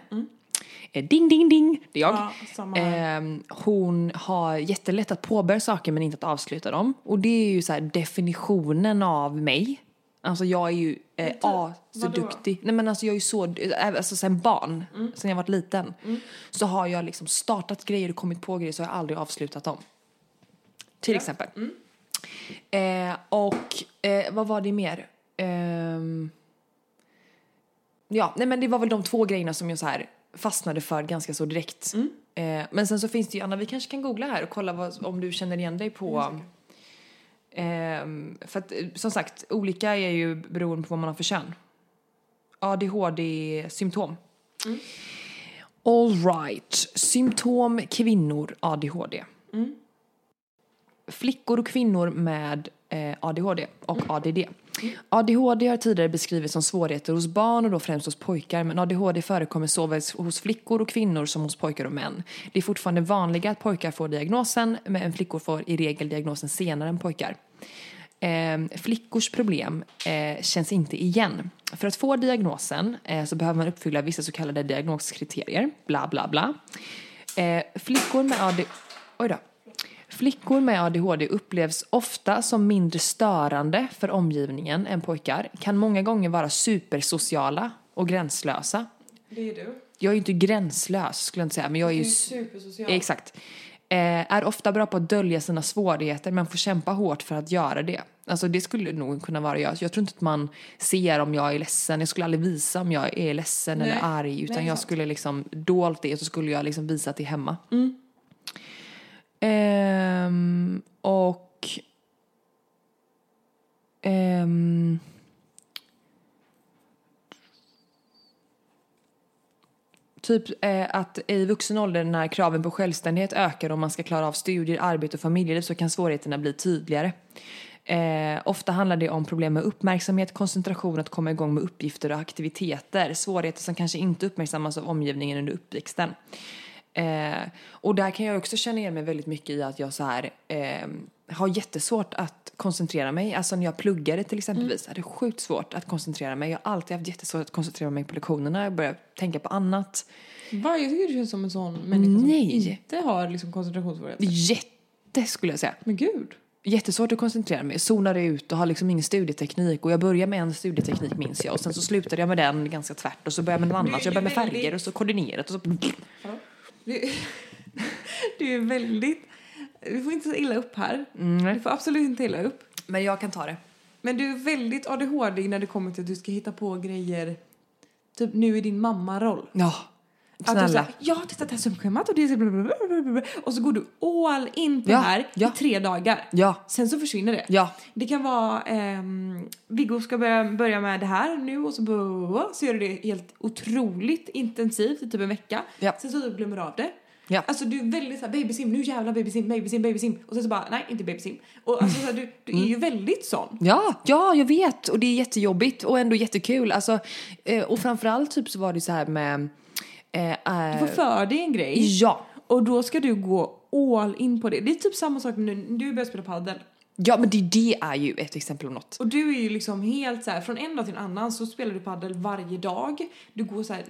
Eh, ding, ding, ding, det är jag. Ja, Eh. samma här. Ehm, hon har jättelätt att påbörja saker men inte att avsluta dem. Och det är ju så här definitionen av mig. Alltså jag är ju eh, a, så vadå? duktig. Nej men alltså jag är ju så, eh, alltså sen barn, sen jag varit liten. Så har jag liksom startat grejer och kommit på grejer så har jag aldrig avslutat dem. Till exempel. Eh, och eh, vad var det mer? Ehm, ja, nej men det var väl de två grejerna som jag så här fastnade för ganska så direkt. Eh, men sen så finns det ju, Anna vi kanske kan googla här och kolla vad, om du känner igen dig på Ehm, för att eh, som sagt, olika är ju beroende på vad man har för kön. ADHD-symptom. All right. Symptom kvinnor ADHD. Flickor och kvinnor med eh, ADHD och ADD. ADHD har tidigare beskrivits som svårigheter hos barn och då främst hos pojkar men ADHD förekommer såväl hos flickor och kvinnor som hos pojkar och män. Det är fortfarande vanligare att pojkar får diagnosen men flickor får i regel diagnosen senare än pojkar. Ehm, flickors problem eh, känns inte igen. För att få diagnosen eh, så behöver man uppfylla vissa så kallade diagnoskriterier. Bla, bla, bla. Eh, flickor med AD... Oj då. Flickor med ADHD upplevs ofta som mindre störande för omgivningen än pojkar. Kan många gånger vara supersociala och gränslösa. Det är du. Jag är ju inte gränslös skulle jag inte säga, men jag är Du ju... är s- supersocial. Exakt. Eh, är ofta bra på att dölja sina svårigheter men får kämpa hårt för att göra det. Alltså det skulle nog kunna vara jag. Jag tror inte att man ser om jag är ledsen. Jag skulle aldrig visa om jag är ledsen Nej. eller arg utan Nej, jag sant. skulle liksom dolt det och så skulle jag liksom visa att det är hemma. Mm. Ehm, och... ehm, Typ eh, att i vuxen ålder när kraven på självständighet ökar och man ska klara av studier, arbete och familjeliv så kan svårigheterna bli tydligare. Eh, ofta handlar det om problem med uppmärksamhet, koncentration, att komma igång med uppgifter och aktiviteter. Svårigheter som kanske inte uppmärksammas av omgivningen under uppväxten. Eh, och där kan jag också känna igen mig väldigt mycket i att jag så här, eh, har jättesvårt att koncentrera mig. Alltså när jag pluggade till exempelvis hade jag sjukt svårt att koncentrera mig. Jag har alltid haft jättesvårt att koncentrera mig på lektionerna. Jag börjar tänka på annat. Va? Jag tycker du känns som en sån människa Nej. som inte har liksom koncentrationssvårigheter. Jätte skulle jag säga. Men gud. Jättesvårt att koncentrera mig. Zonar ut och har liksom ingen studieteknik. Och jag började med en studieteknik minns jag. Och sen så slutade jag med den ganska tvärt. Och så började jag med något annat. Så jag började med färger och så koordinerat. Och så... Du, du är väldigt... Du får inte så illa upp här. Du får absolut inte illa upp. Men jag kan ta det. Men du är väldigt ADHD när det kommer till att du ska hitta på grejer. Typ nu i din mammaroll. Ja. Att du Snälla. säger, jag har tittat det här sömnschemat och det är så blablabla. Och så går du all in på Ja, det här ja. i tre dagar. Ja. Sen så försvinner det. Ja. Det kan vara ehm, Viggo ska börja, börja med det här nu och så, så gör du det helt otroligt intensivt i typ en vecka. Ja. Sen så typ glömmer du av det. Ja. Alltså du är väldigt såhär babysim, nu jävlar babysim, babysim, babysim. Och sen så bara nej inte babysim. Och alltså så här, du, du Mm. är ju väldigt sån. Ja, ja, jag vet. Och det är jättejobbigt och ändå jättekul. Alltså, eh, och framförallt typ så var det så här med... Eh, eh, Du får för dig en grej. ja. Och då ska du gå all in på det. Det är typ samma sak nu när du börjar spela padel. ja, men det, det är ju ett exempel om något. Och du är ju liksom helt så här, från en dag till en annan så spelar du padel varje dag. Du går så här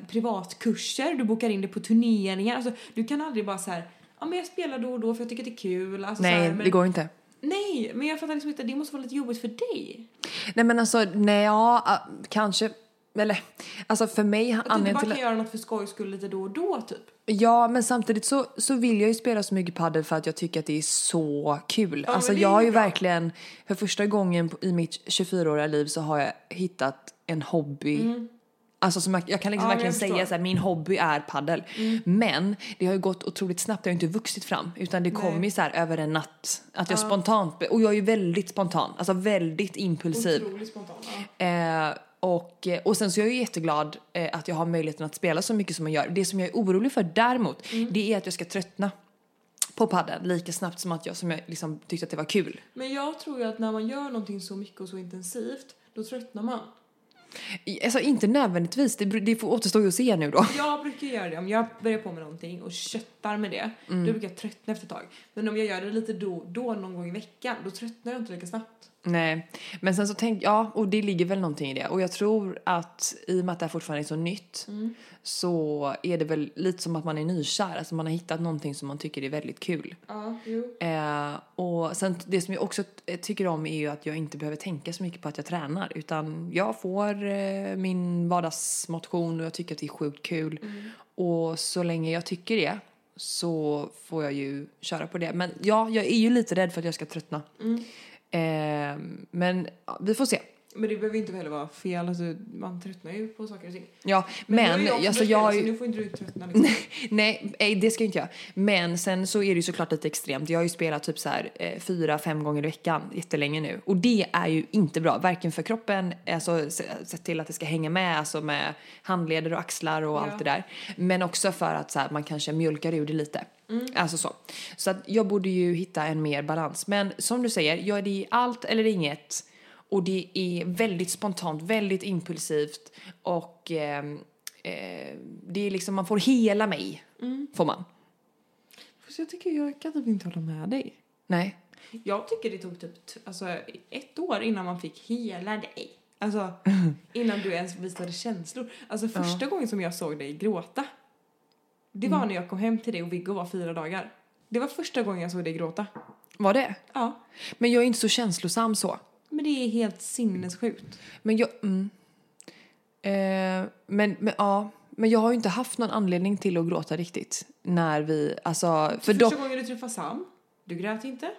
privatkurser, du bokar in dig på turneringar. Alltså, du kan aldrig bara så här, ja men jag spelar då och då för jag tycker det är kul. Alltså, så Nej, här, men, det går inte. Nej, men jag fattar liksom inte, det måste vara lite jobbigt för dig. Nej men alltså, nej ja, ah, kanske. Eller, alltså för mig, Att du inte anledningen bara till kan göra något för skojs skull lite då och då typ. Ja, men samtidigt så, så vill jag ju spela så mycket padel för att jag tycker att det är så kul. men alltså det är jag har ju ju bra. verkligen, för första gången på- i mitt 24-åriga liv så har jag hittat en hobby. Alltså som jag, jag kan liksom Mm. Ja, verkligen men jag förstår. Mm. säga så här, min hobby är padel. Men det har ju gått otroligt snabbt, det har ju inte vuxit fram utan det kom ju så här över en natt. Att jag spontant, be- och jag är ju väldigt spontan, alltså väldigt impulsiv. Otroligt spontant. Ja. Eh, och, och sen så är jag ju jätteglad eh, att jag har möjligheten att spela så mycket som jag gör. Det som jag är orolig för däremot, det är att jag ska tröttna på padden lika snabbt som att jag, som jag liksom tyckte att det var kul. Men jag tror ju att när man gör någonting så mycket och så intensivt, då tröttnar man. I- Alltså inte nödvändigtvis, det, beror- det får återstå ju att se nu då. Jag brukar göra det om jag börjar på med någonting och köttar med det. Då brukar jag tröttna efter ett tag. Men om jag gör det lite då, då någon gång i veckan, då tröttnar jag inte lika snabbt. Nej, men sen så tänk, ja, och det ligger väl någonting i det. Och jag tror att i och med att det här fortfarande är så nytt så är det väl lite som att man är nykär, alltså man har hittat någonting som man tycker är väldigt kul. Ja, jo. Eh, och sen t- det som jag också t- eh, tycker om är ju att jag inte behöver tänka så mycket på att jag tränar utan jag får eh, min vardagsmotion och jag tycker att det är sjukt kul. Mm. Och så länge jag tycker det så får jag ju köra på det. Men ja, jag är ju lite rädd för att jag ska tröttna. Mm. Eh, men ja, vi får se. Men det behöver inte heller vara fel, alltså, man tröttnar ju på saker och ting. Ja, du har men, ju också alltså börjat jag... spela, så nu får inte du tröttna liksom. Nej, ej, det ska jag inte göra. Men sen så är det ju såklart lite extremt. Jag har ju spelat typ så här eh, fyra, fem gånger i veckan jättelänge nu. Och det är ju inte bra, varken för kroppen, alltså se- sett till att det ska hänga med, alltså med handleder och axlar och allt det där. Men också för att så här, man kanske mjölkar ur det lite. Alltså så. Så att jag borde ju hitta en mer balans. Men som du säger, jag är det är allt eller inget. Och det är väldigt spontant, väldigt impulsivt och ehm, eh, det är liksom, man får hela mig. Mm. Får man. Fast jag tycker jag kan typ inte hålla med dig. Nej. Jag tycker det tog typ t- alltså, ett år innan man fick hela dig. Alltså innan du ens visade känslor. Alltså första gången som jag såg dig gråta. Det Mm. var när jag kom hem till dig och Viggo var fyra dagar. Det var första gången jag såg dig gråta. Var det? Ja. Men jag är inte så känslosam så. Men det är helt sinnessjukt. Men jag... Mm. Eh, men, men ja, Men jag har ju inte haft någon anledning till att gråta riktigt. När vi, alltså, för Första dock, gången du träffade Sam, du grät inte.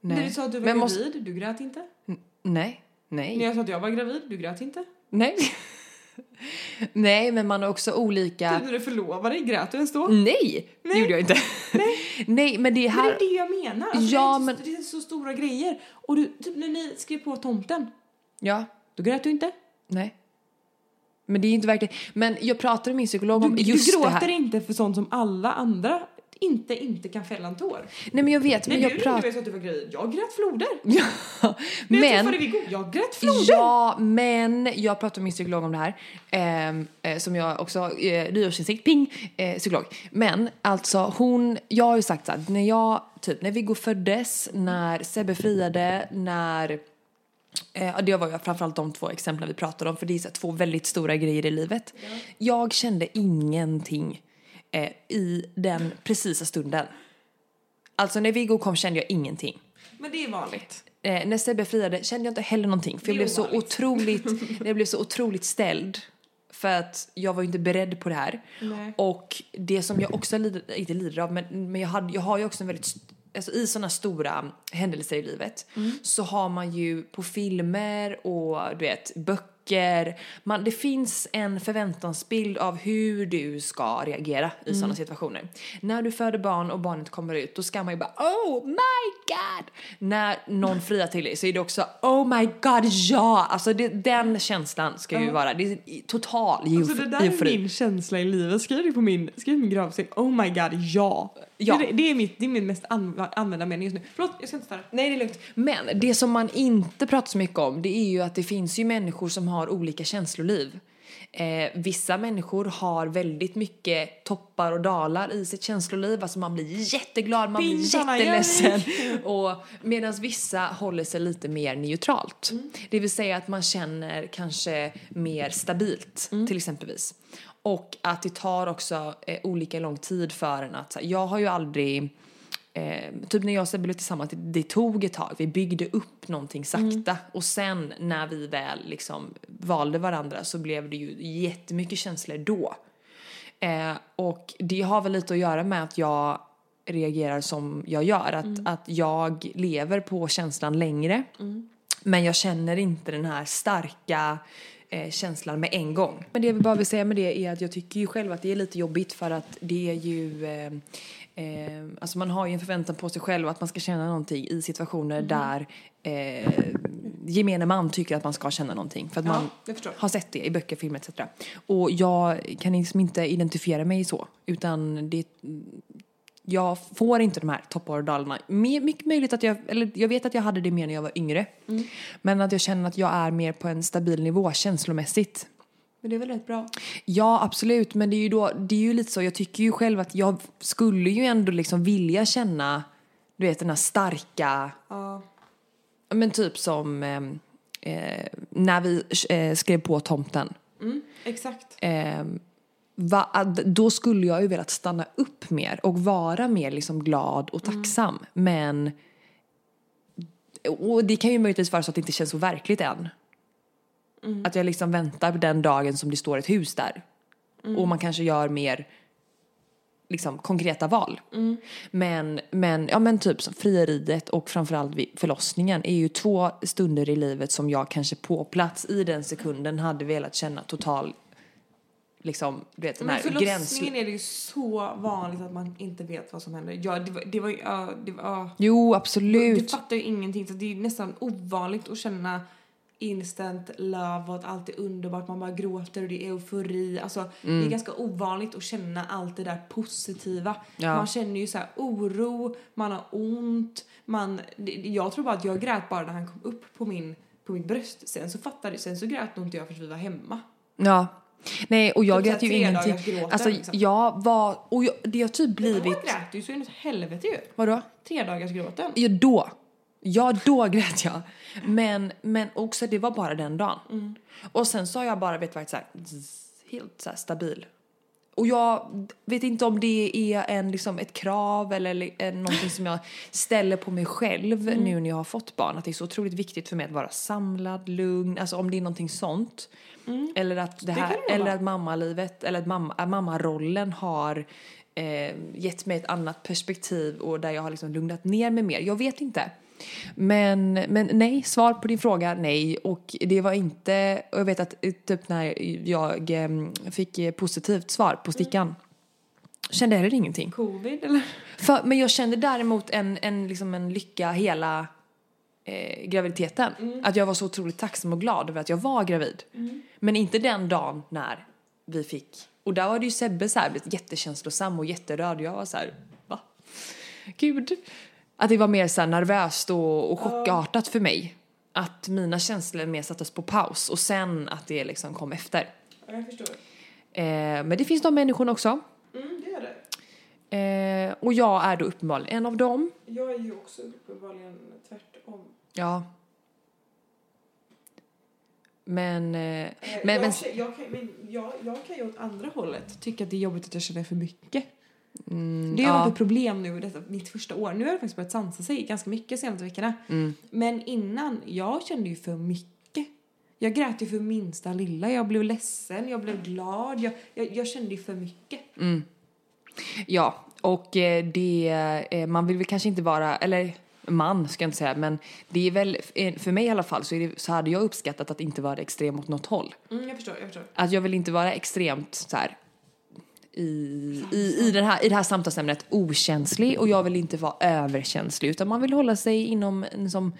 När du nej. sa att du var Men gravid, måste- du grät inte. nej, När nej, jag sa att jag var gravid, du grät inte. nej. nej, men man har också Typ olika... när du förlovade dig, grät du ens då? Mm. Nej, det gjorde jag inte. Nej, men det Men det här... är det jag menar. Alltså, Ja, det, är men- så, det är så stora grejer. Och du, typ när ni skrev på tomten, Ja, då grät du inte. nej. Men det är inte verkligen... Men jag pratade med min psykolog Du, om just du det gråter här. inte för sånt som alla andra inte, inte kan fälla en tår. Nej, men jag vet, När men du jag ringde pratade... mig så att du var gravid, jag grät floder. Ja, När jag men... träffade Viggo, jag grät floder. Ja, men jag pratade med min psykolog om det här. ehm, Eh, som jag också, eh, nyårsinsikt, ping, eh, psykolog. Men alltså hon, jag har ju sagt så här, när jag, typ när Viggo föddes, när Sebbe friade, när Eh, ja, det var ju framförallt de två exemplen vi pratade om för det är så här, två väldigt stora grejer i livet. Jag kände ingenting eh, i den precisa stunden. Alltså när Viggo kom kände jag ingenting. Men det är vanligt. Eh, när Sebbe friade kände jag inte heller någonting för Det jag är blev, så ovanligt. otroligt, jag blev så otroligt ställd för att jag var ju inte beredd på det här. Nej. Och det som jag också lider, inte lider av, men, men jag, hade, jag har ju också en väldigt st- Alltså i sådana stora händelser i livet Mm. så har man ju på filmer och du vet böcker, man, det finns en förväntansbild av hur du ska reagera i sådana Mm. situationer. När du föder barn och barnet kommer ut då ska man ju bara oh my god! När någon friar till dig så är det också oh my god ja! Alltså det, den känslan ska ju vara, det är total Så Alltså, det där är min känsla i livet. Skriv det på min, skriv min gravsten. Oh my god, ja. Ja. Det, det, är mitt, det är min mest anv- använda mening just nu. Förlåt, jag ska inte störa. Nej, det är lugnt. Men det som man inte pratar så mycket om det är ju att det finns ju människor som har olika känsloliv. Eh, vissa människor har väldigt mycket toppar och dalar i sitt känsloliv. Alltså man blir jätteglad, man blir Pinsarna, jätteledsen. Och medan vissa håller sig lite mer neutralt. Det vill säga att man känner kanske mer stabilt till exempelvis. Och att det tar också eh, olika lång tid för en att, så här, jag har ju aldrig Eh, typ när jag och Sebbe blev tillsammans, det, det tog ett tag. Vi byggde upp någonting sakta. Och sen när vi väl liksom valde varandra så blev det ju jättemycket känslor då. Eh, och det har väl lite att göra med att jag reagerar som jag gör. Att, att jag lever på känslan längre. Men jag känner inte den här starka eh, känslan med en gång. Men det vi bara vill säga med det är att jag tycker ju själv att det är lite jobbigt för att det är ju... Eh, eh, alltså man har ju en förväntan på sig själv att man ska känna någonting i situationer där eh, gemene man tycker att man ska känna någonting. För att Ja, man jag förstår. har sett det i böcker, filmer etc. Och jag kan liksom inte identifiera mig så. Utan det, jag får inte de här toppar och dalarna. Me- Mycket möjligt att jag, eller jag vet att jag hade det mer när jag var yngre. Men att jag känner att jag är mer på en stabil nivå känslomässigt. Men det är väl rätt bra. Ja, absolut. Men det är ju, då, det är ju lite så, jag tycker ju själv att jag skulle ju ändå liksom vilja känna, du vet den här starka Ja. Ja, Men typ som ehm, eh, när vi eh, skrev på tomten. Mm, exakt. Ehm, va, att då skulle jag ju velat stanna upp mer och vara mer liksom glad och tacksam. Men och det kan ju möjligtvis vara så att det inte känns så verkligt än. Att jag liksom väntar på den dagen som det står ett hus där. Och man kanske gör mer liksom, konkreta val. Men, men, ja, men typ som frieriet och framförallt vid förlossningen är ju två stunder i livet som jag kanske på plats i den sekunden hade velat känna total liksom, du vet den Men här gränslös... förlossningen är det ju så vanligt att man inte vet vad som händer. Ja, det var, det var ju... ja, det var, ja. Jo, Du absolut. fattar ju ingenting så det är ju nästan ovanligt att känna instant love och att allt är underbart, man bara gråter och det är eufori. Alltså det är ganska ovanligt att känna allt det där positiva. Ja. Man känner ju så här oro, man har ont, man... det- Jag tror bara att jag grät bara när han kom upp på min på mitt bröst. Sen så fattade sen så grät nog inte jag för att vi var hemma. Ja. Nej, och jag Typ så grät ju här tredagarsgråten, ingenting. Alltså, liksom. jag var... Och jag, det har typ Jag blivit... grät ju så inåt helvete ju. Vadå? Tre dagars gråten. Ja, då. Ja, då grät jag. Men, men också, det var Mm. bara den dagen. Och sen så har jag bara vet, varit så här, zzz, helt så här stabil. Och jag vet inte om det är en, liksom, ett krav eller li- eh, någonting som jag ställer på mig själv Mm. nu när jag har fått barn. Att det är så otroligt viktigt för mig att vara samlad, lugn, alltså om det är någonting sånt. Eller att det här, kan Mm. det eller vara. att mammalivet, eller att, mamma, att mammarollen har eh, gett mig ett annat perspektiv och där jag har liksom lugnat ner mig mer. Jag vet inte. Men, men nej, svar på din fråga, nej. Och det var inte, och jag vet att eh, typ när jag eh, fick eh, positivt svar på stickan kände jag heller ingenting. Covid eller? För, men jag kände däremot en, en, liksom en lycka hela eh, graviditeten. Att jag var så otroligt tacksam och glad över att jag var gravid. Men inte den dagen när vi fick... Och där var det ju Sebbe så här, blivit jättekänslosam och jätterörd. Jag var så här, va? Gud. Att det var mer så här nervöst och, och chockartat för mig. Att mina känslor mer sattes på paus och sen att det liksom kom efter. Ja, jag förstår. Eh, men det finns de människorna också. Mm, det gör det. Eh, och jag är då uppenbarligen en av dem. Jag är ju också uppenbarligen tvärtom. Ja. Men, eh, Eh, men, jag, men kä- jag, kan, men jag, jag kan ju åt andra hållet tycka att det är jobbigt att jag känner för mycket. det har Mm, ja. varit ett problem nu detta, mitt första år. Nu har det faktiskt börjat sansa sig ganska mycket de senaste veckorna. Mm. Men innan, jag kände ju för mycket. Jag grät ju för minsta lilla. Jag blev ledsen, jag blev glad. Jag, jag, jag kände ju för mycket. ja, och eh, det, eh, man vill väl kanske inte vara, eller man ska jag inte säga, men det är väl, eh, för mig i alla fall så, är det, så hade jag uppskattat att inte vara extrem åt något håll. Mm, jag förstår, jag förstår. Att jag vill inte vara extremt så här i, i, i, den här, i det här samtalsämnet okänslig och jag vill inte vara överkänslig utan man vill hålla sig inom en som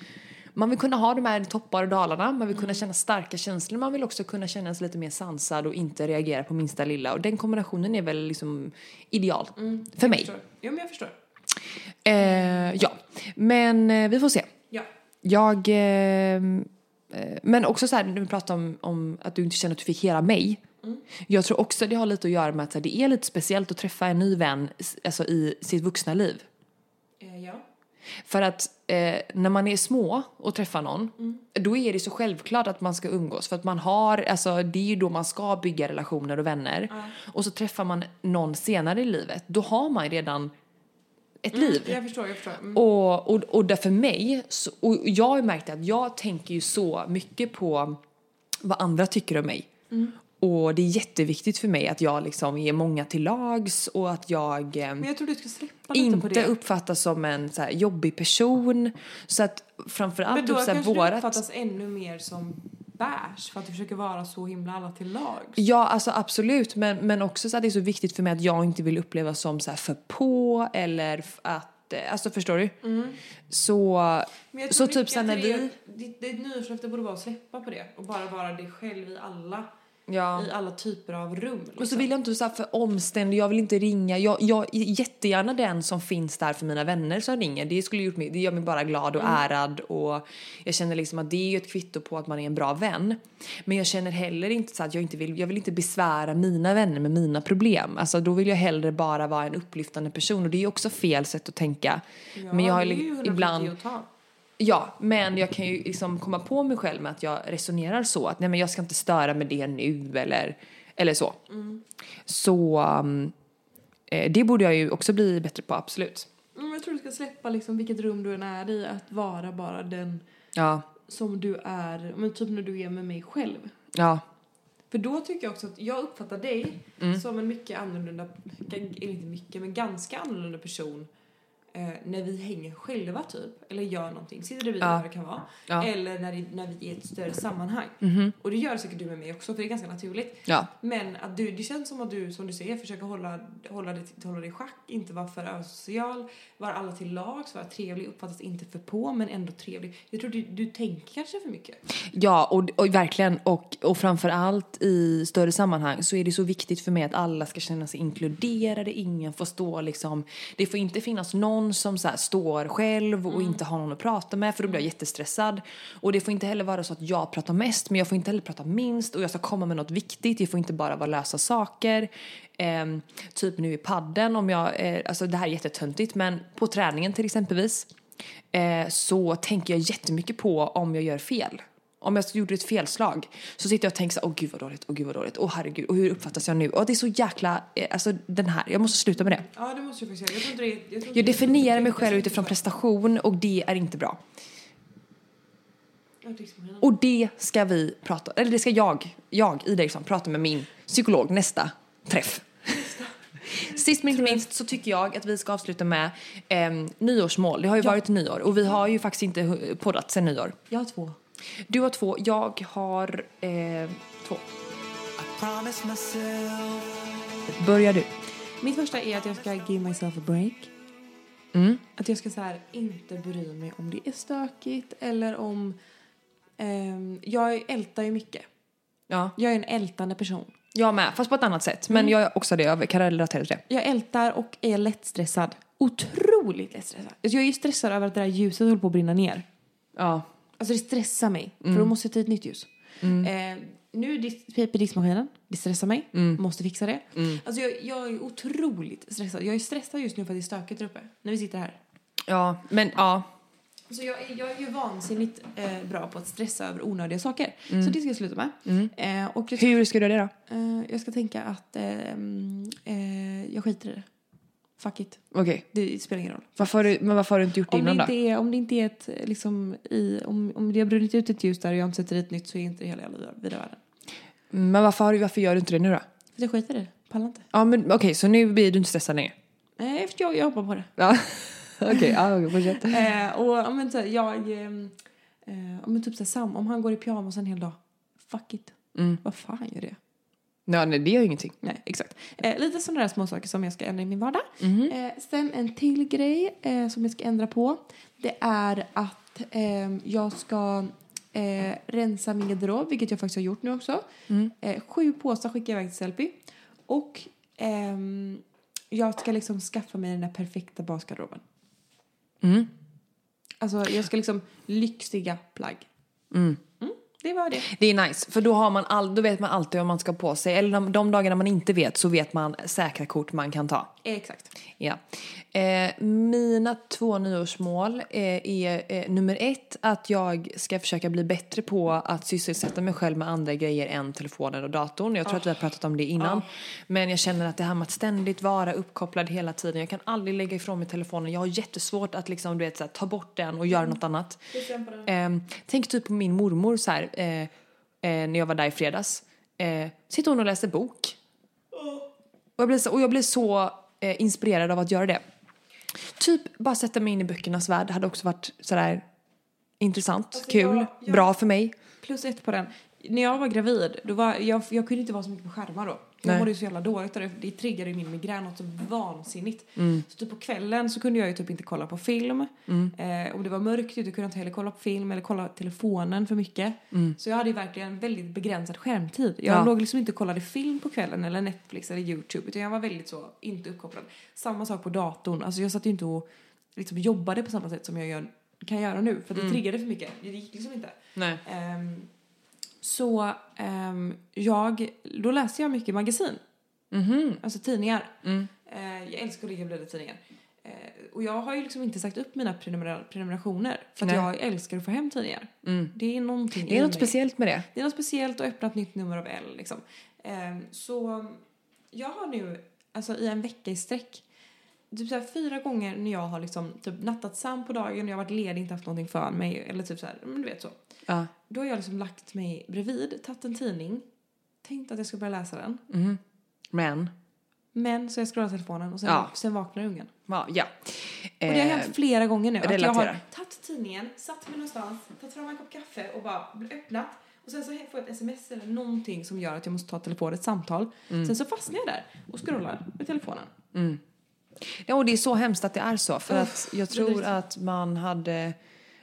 man vill kunna ha de här toppar och dalarna, man vill kunna Mm. känna starka känslor, man vill också kunna känna sig lite mer sansad och inte reagera på minsta lilla och den kombinationen är väl liksom ideal för mig. förstår. Jo, men Mm, jag förstår. Eh, ja, men eh, vi får se. Ja. Jag... Eh, eh, men också så här, när vi pratar om, om att du inte känner att du fick hela mig. Jag tror också det har lite att göra med att så här, det är lite speciellt att träffa en ny vän s- alltså, i sitt vuxna liv. Eh, ja. För att eh, när man är små och träffar någon, då är det så självklart att man ska umgås. För att man har, alltså det är ju då man ska bygga relationer och vänner. Och så träffar man någon senare i livet, då har man ju redan ett liv. Jag förstår, jag förstår. Mm. Och, och, och därför mig, så, och jag har märkt att jag tänker ju så mycket på vad andra tycker om mig. Och det är jätteviktigt för mig att jag liksom är många till lags och att jag eh, Men jag tror du ska släppa lite på inte det. uppfattas som en så här, jobbig person. Så att Men framförallt då typ så här, kanske du vårat... uppfattas ännu mer som bärs för att du försöker vara så himla alla till lags. Ja, alltså absolut. Men, men också så att det är så viktigt för mig att jag inte vill upplevas som så här för på eller f- att... eh, Alltså förstår du? Mm. Så, Men jag så tror typ mycket sen när att det är- vi... Ditt, ditt nyårslöfte borde vara att släppa på det och bara vara dig själv i alla, Ja. i alla typer av rum. Och så liksom. vill jag inte vara så här för omständig, jag vill inte ringa. Jag, jag är jättegärna den som finns där för mina vänner som ringer. Det, skulle gjort mig, det gör mig bara glad och Mm. ärad och jag känner liksom att det är ju ett kvitto på att man är en bra vän. Men jag känner heller inte så att jag inte vill, jag vill inte besvära mina vänner med mina problem. Alltså då vill jag hellre bara vara en upplyftande person och det är ju också fel sätt att tänka. liksom. Ja, men jag har det är li- ju 170 ibland att ta. Ja, men jag kan ju liksom komma på mig själv med att jag resonerar så att nej men jag ska inte störa med det nu eller, eller så. Så um, eh, det borde jag ju också bli bättre på, absolut. Mm, jag tror du ska släppa liksom vilket rum du än är i, att vara bara den Ja, som du är, men typ när du är med mig själv. ja, För då tycker jag också att jag uppfattar dig Mm. som en mycket annorlunda, eller inte mycket, men ganska annorlunda person eh, när vi hänger själva typ, eller gör någonting, sitter där vi Ja. eller vad det kan vara, Ja. Mm-hmm. eller när, det, när vi är i ett större sammanhang. Och det gör säkert du med mig också, för det är ganska naturligt. ja, Men att du, det känns som att du, som du säger, försöker hålla, hålla, dig, hålla dig i schack, inte vara för asocial, vara alla till lags, vara trevlig, uppfattas inte för på men ändå trevlig. Jag tror du, du tänker kanske för mycket. ja och, och verkligen och, och framförallt i större sammanhang så är det så viktigt för mig att alla ska känna sig inkluderade, ingen får stå liksom, det får inte finnas någon som så här står själv och inte har någon att prata med för då blir jag jättestressad och det får inte heller vara så att jag pratar mest men jag får inte heller prata minst och jag ska komma med något viktigt, det får inte bara vara lösa saker. Ehm, typ nu i padden om jag, eh, alltså det här är jättetöntigt men på träningen till exempelvis eh, så tänker jag jättemycket på om jag gör fel. Om jag gjorde ett felslag så sitter jag och tänker så här, åh gud vad dåligt, åh gud vad dåligt, åh herregud, och hur uppfattas jag nu? Och det är så jäkla, eh, alltså den här, jag måste sluta med det. Ja, det måste jag faktiskt göra. Jag, tror inte det, jag, tror inte Jag det- definierar mig själv utifrån prestation och det är inte bra. Ja, det är så många. Och det ska vi prata, eller det ska jag, jag Ida Eriksson, prata med min psykolog nästa träff. Sist men inte minst så tycker jag att vi ska avsluta med eh, nyårsmål. Det har ju varit nyår och vi har ju faktiskt inte hu- poddat sen nyår. Jag har två. Du har två, jag har eh, två. Promise myself Börjar du? Mitt första är att jag ska give myself a break. Mm. Att jag ska så här, inte bry mig om det är stökigt eller om... ehm, jag ältar ju mycket. Ja. Jag är en ältande person. Jag med, fast på ett annat sätt. Men jag är också det, jag kan relatera till det. Jag ältar och är lättstressad. Otroligt lättstressad. Alltså, jag är ju stressad över att det där ljuset håller på att brinna ner. Ja. Alltså det stressar mig. För då Mm. måste jag ta ett nytt ljus. Eh, nu dis- piper diskmaskinen. Det stressar mig. Mm. Måste fixa det. Alltså jag, jag är otroligt stressad. Jag är stressad just nu för att det är stökigt där uppe. När vi sitter här. Ja, men ja. Så jag, är- jag är ju vansinnigt eh, bra på att stressa över onödiga saker. Så det ska jag sluta med. Mm. Eh, och jag, Hur ska du göra det eh, jag ska tänka att eh, mm, eh, jag skiter i det. Fuck it. då? Okej. Det spelar ingen roll. Varför, har du- men varför har du inte gjort det Om det, innan då? inte är, om det inte är ett, eh, liksom, i, om, om det har brunnit ut ett ljus där och jag inte sätter dit nytt så är inte det hela jävla vida världen. Mm. Men varför, har du- varför gör du inte det nu då? För jag skiter i det. Pallar inte. Ja, men okej, så nu blir du inte stressad längre? Nej, för jag, jag hoppar på det. Ja. Okej, ja, okej, fortsätt. Eh, och ja, men, så, här, jag... ehm, Eh, ja, men typ så här, Sam, om han går i pyjamas en hel dag. Fuck it. Vad fan gör det? Ja, nej, det gör ju ingenting. Nej, exakt. Eh, lite sådana där små saker som jag ska ändra i min vardag. Mm. Eh, sen en till grej eh, som jag ska ändra på. Det är att ehm, jag ska eh, rensa min garderob, vilket jag faktiskt har gjort nu också. Eh, sju påsar skickar jag iväg till Selby. Och ehm, jag ska liksom skaffa mig den där perfekta basgarderoben. Alltså jag ska liksom lyxiga plagg. Mm, det var det. Det är nice, för då, har man all, då vet man alltid vad man ska ha på sig. Eller de, de dagarna man inte vet så vet man säkra kort man kan ta. Eh, exakt. Ja. Eh, mina två nyårsmål eh, är eh, nummer ett att jag ska försöka bli bättre på att sysselsätta mig själv med andra grejer än telefonen och datorn. Jag tror att vi har pratat om det innan. Men jag känner att det här med att ständigt vara uppkopplad hela tiden. Jag kan aldrig lägga ifrån mig telefonen. Jag har jättesvårt att liksom, du vet, så här, ta bort den och göra något annat. Eh, tänk typ på min mormor så här, eh, eh, när jag var där i fredags. Eh, sitter hon och läser bok? Och jag blir så, och jag blir så eh, inspirerad av att göra det. Typ bara sätta mig in i böckernas värld hade också varit sådär intressant, kul, Alltså, jag- jag- bra för mig. Plus ett på den. När jag var gravid, då var, jag, jag kunde inte vara så mycket på skärmar då. Jag Nej. mådde ju så jävla dåligt av det. för Det triggade ju min migrän något så vansinnigt. Mm. Så typ på kvällen så kunde jag ju typ inte kolla på film. Eh, om det var mörkt ute kunde jag inte heller kolla på film eller kolla telefonen för mycket. Så jag hade ju verkligen väldigt begränsad skärmtid. Jag Mm. Ja. låg liksom inte och kollade film på kvällen eller Netflix eller Youtube. Utan jag var väldigt så, inte uppkopplad. Samma sak på datorn. Alltså jag satt ju inte och liksom jobbade på samma sätt som jag gör, kan göra nu. För det Mm. triggade för mycket. Det gick liksom inte. Nej. Ehm, så ehm, jag, då läste jag mycket magasin. Mhm. Alltså tidningar. Mm. Eh, jag älskar att ligga och bläddra i tidningar. Eh, och jag har ju liksom inte sagt upp mina prenumer- prenumerationer. För att Nej. jag älskar att få hem tidningar. Mm. Det är någonting Det är i något mig. speciellt med det. Det är något speciellt att öppna ett nytt nummer av L. Liksom. Ehm, så jag har nu alltså, i en vecka i sträck typ så här, fyra gånger när jag har liksom, typ, nattat Sam på dagen och jag har varit ledig inte haft någonting för mig. Eller typ så här, men du vet så. Ja. Då har jag liksom lagt mig bredvid, tagit en tidning, tänkt att jag ska börja läsa den. Mhm. Men, Men så har jag scrollat telefonen och sen, Ja. sen vaknar ungen. ja. ja. Och det har Eh, hänt flera gånger nu. Att jag har relatera. tagit tidningen, satt mig någonstans, tagit fram en kopp kaffe och bara öppnat. Och sen så får jag ett sms eller någonting som gör att jag måste ta telefonen, ett samtal. Mm. Sen så fastnar jag där och scrollar med telefonen. Ja, och det är så hemskt att det är så. För Uff, att jag tror vidrigt. att man hade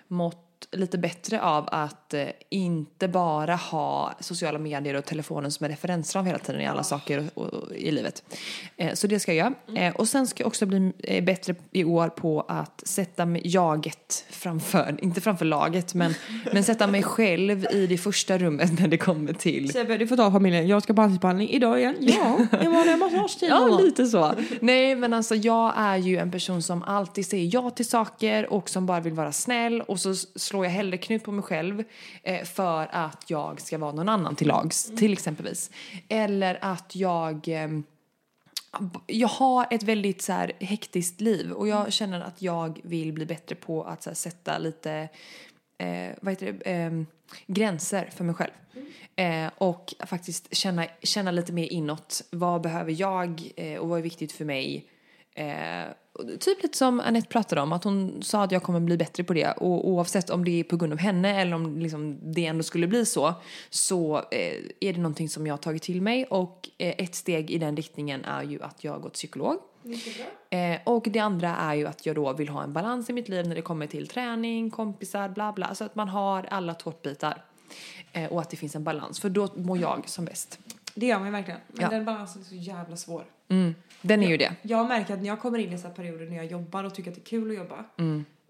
mått lite bättre av att eh, inte bara ha sociala medier och telefonen som en referensram hela tiden i alla saker och, och, i livet. Eh, så det ska jag göra. Eh, och sen ska jag också bli eh, bättre i år på att sätta mig- jaget framför, inte framför laget, men, men sätta mig själv i det första rummet när det kommer till Sebbe, du får ta familjen. Jag ska på ansiktsbehandling idag igen. Ja, jag var där massagetid. Ja, lite så. Nej, men alltså jag är ju en person som alltid säger ja till saker och som bara vill vara snäll och så s- slår jag hellre knut på mig själv eh, för att jag ska vara någon annan till lags, till exempelvis. Eller att jag... ehm, jag har ett väldigt så här, hektiskt liv och jag känner att jag vill bli bättre på att så här, sätta lite eh, vad heter det? Ehm, gränser för mig själv. Eh, och faktiskt känna, känna lite mer inåt. Vad behöver jag eh, och vad är viktigt för mig? Eh, och typ lite som Anette pratade om, att hon sa att jag kommer bli bättre på det. Och oavsett om det är på grund av henne eller om liksom, det ändå skulle bli så, så eh, är det någonting som jag har tagit till mig. Och eh, ett steg i den riktningen är ju att jag har gått psykolog. Eh, och det andra är ju att jag då vill ha en balans i mitt liv när det kommer till träning, kompisar, bla bla. Alltså att man har alla tårtbitar. Eh, och att det finns en balans, för då mår jag som bäst. Det gör man ju verkligen. Men Ja. den balansen är så jävla svår. Mm. Den är ju det. Jag märker att när jag kommer in i så här perioder när jag jobbar och tycker att det är kul att jobba.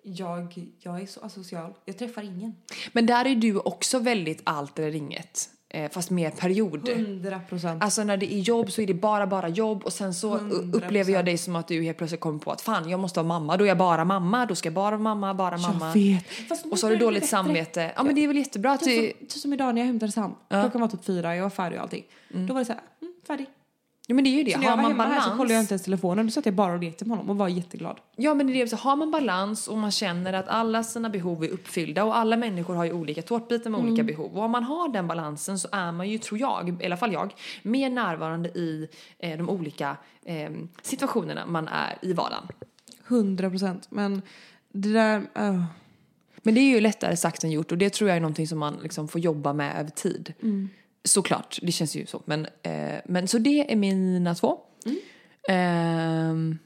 Jag, jag är så asocial. Jag träffar ingen. Men där är du också väldigt allt eller inget. Eh, fast mer period. 100 procent. Alltså när det är jobb så är det bara bara jobb och sen så 100%. upplever jag dig som att du helt plötsligt kommer på att fan jag måste vara mamma, då är jag bara mamma, då ska jag bara vara mamma, bara mamma. vet. Fast nu Och så har du börjar det bli dåligt bättre. samvete. Ja men det är väl jättebra att du... Typ som, typ som idag när jag hämtade Sam. Klockan var typ fyra, jag var färdig och allting. Då var det så här, mm, färdig. Ja men det är ju det, Så när jag har var man hemma här balans. så kollade jag inte ens telefonen. Då satt jag bara och lekte med honom och var jätteglad. Ja men det är det, så har man balans och man känner att alla sina behov är uppfyllda och alla människor har ju olika tårtbitar med olika behov och om man har den balansen så är man ju, tror jag, i alla fall jag, mer närvarande i eh, de olika eh, situationerna man är i vardagen. 100 procent. Men det där... öh. Men det är ju lättare sagt än gjort och det tror jag är någonting som man liksom får jobba med över tid. Såklart, det känns ju så. Men, eh, men så det är mina två. Ehm,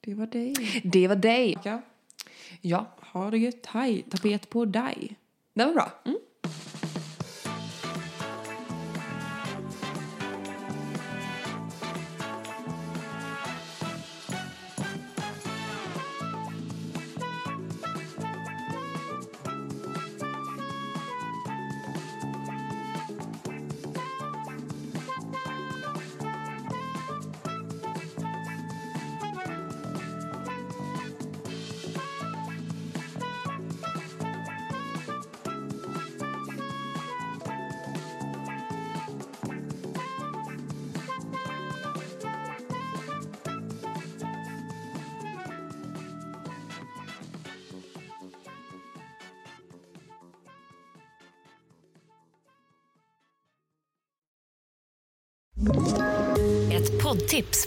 Det var dig. det var dig. Ja. Ja, Ha det gött. Hej. Tapet på dig. det var bra. Ett poddtips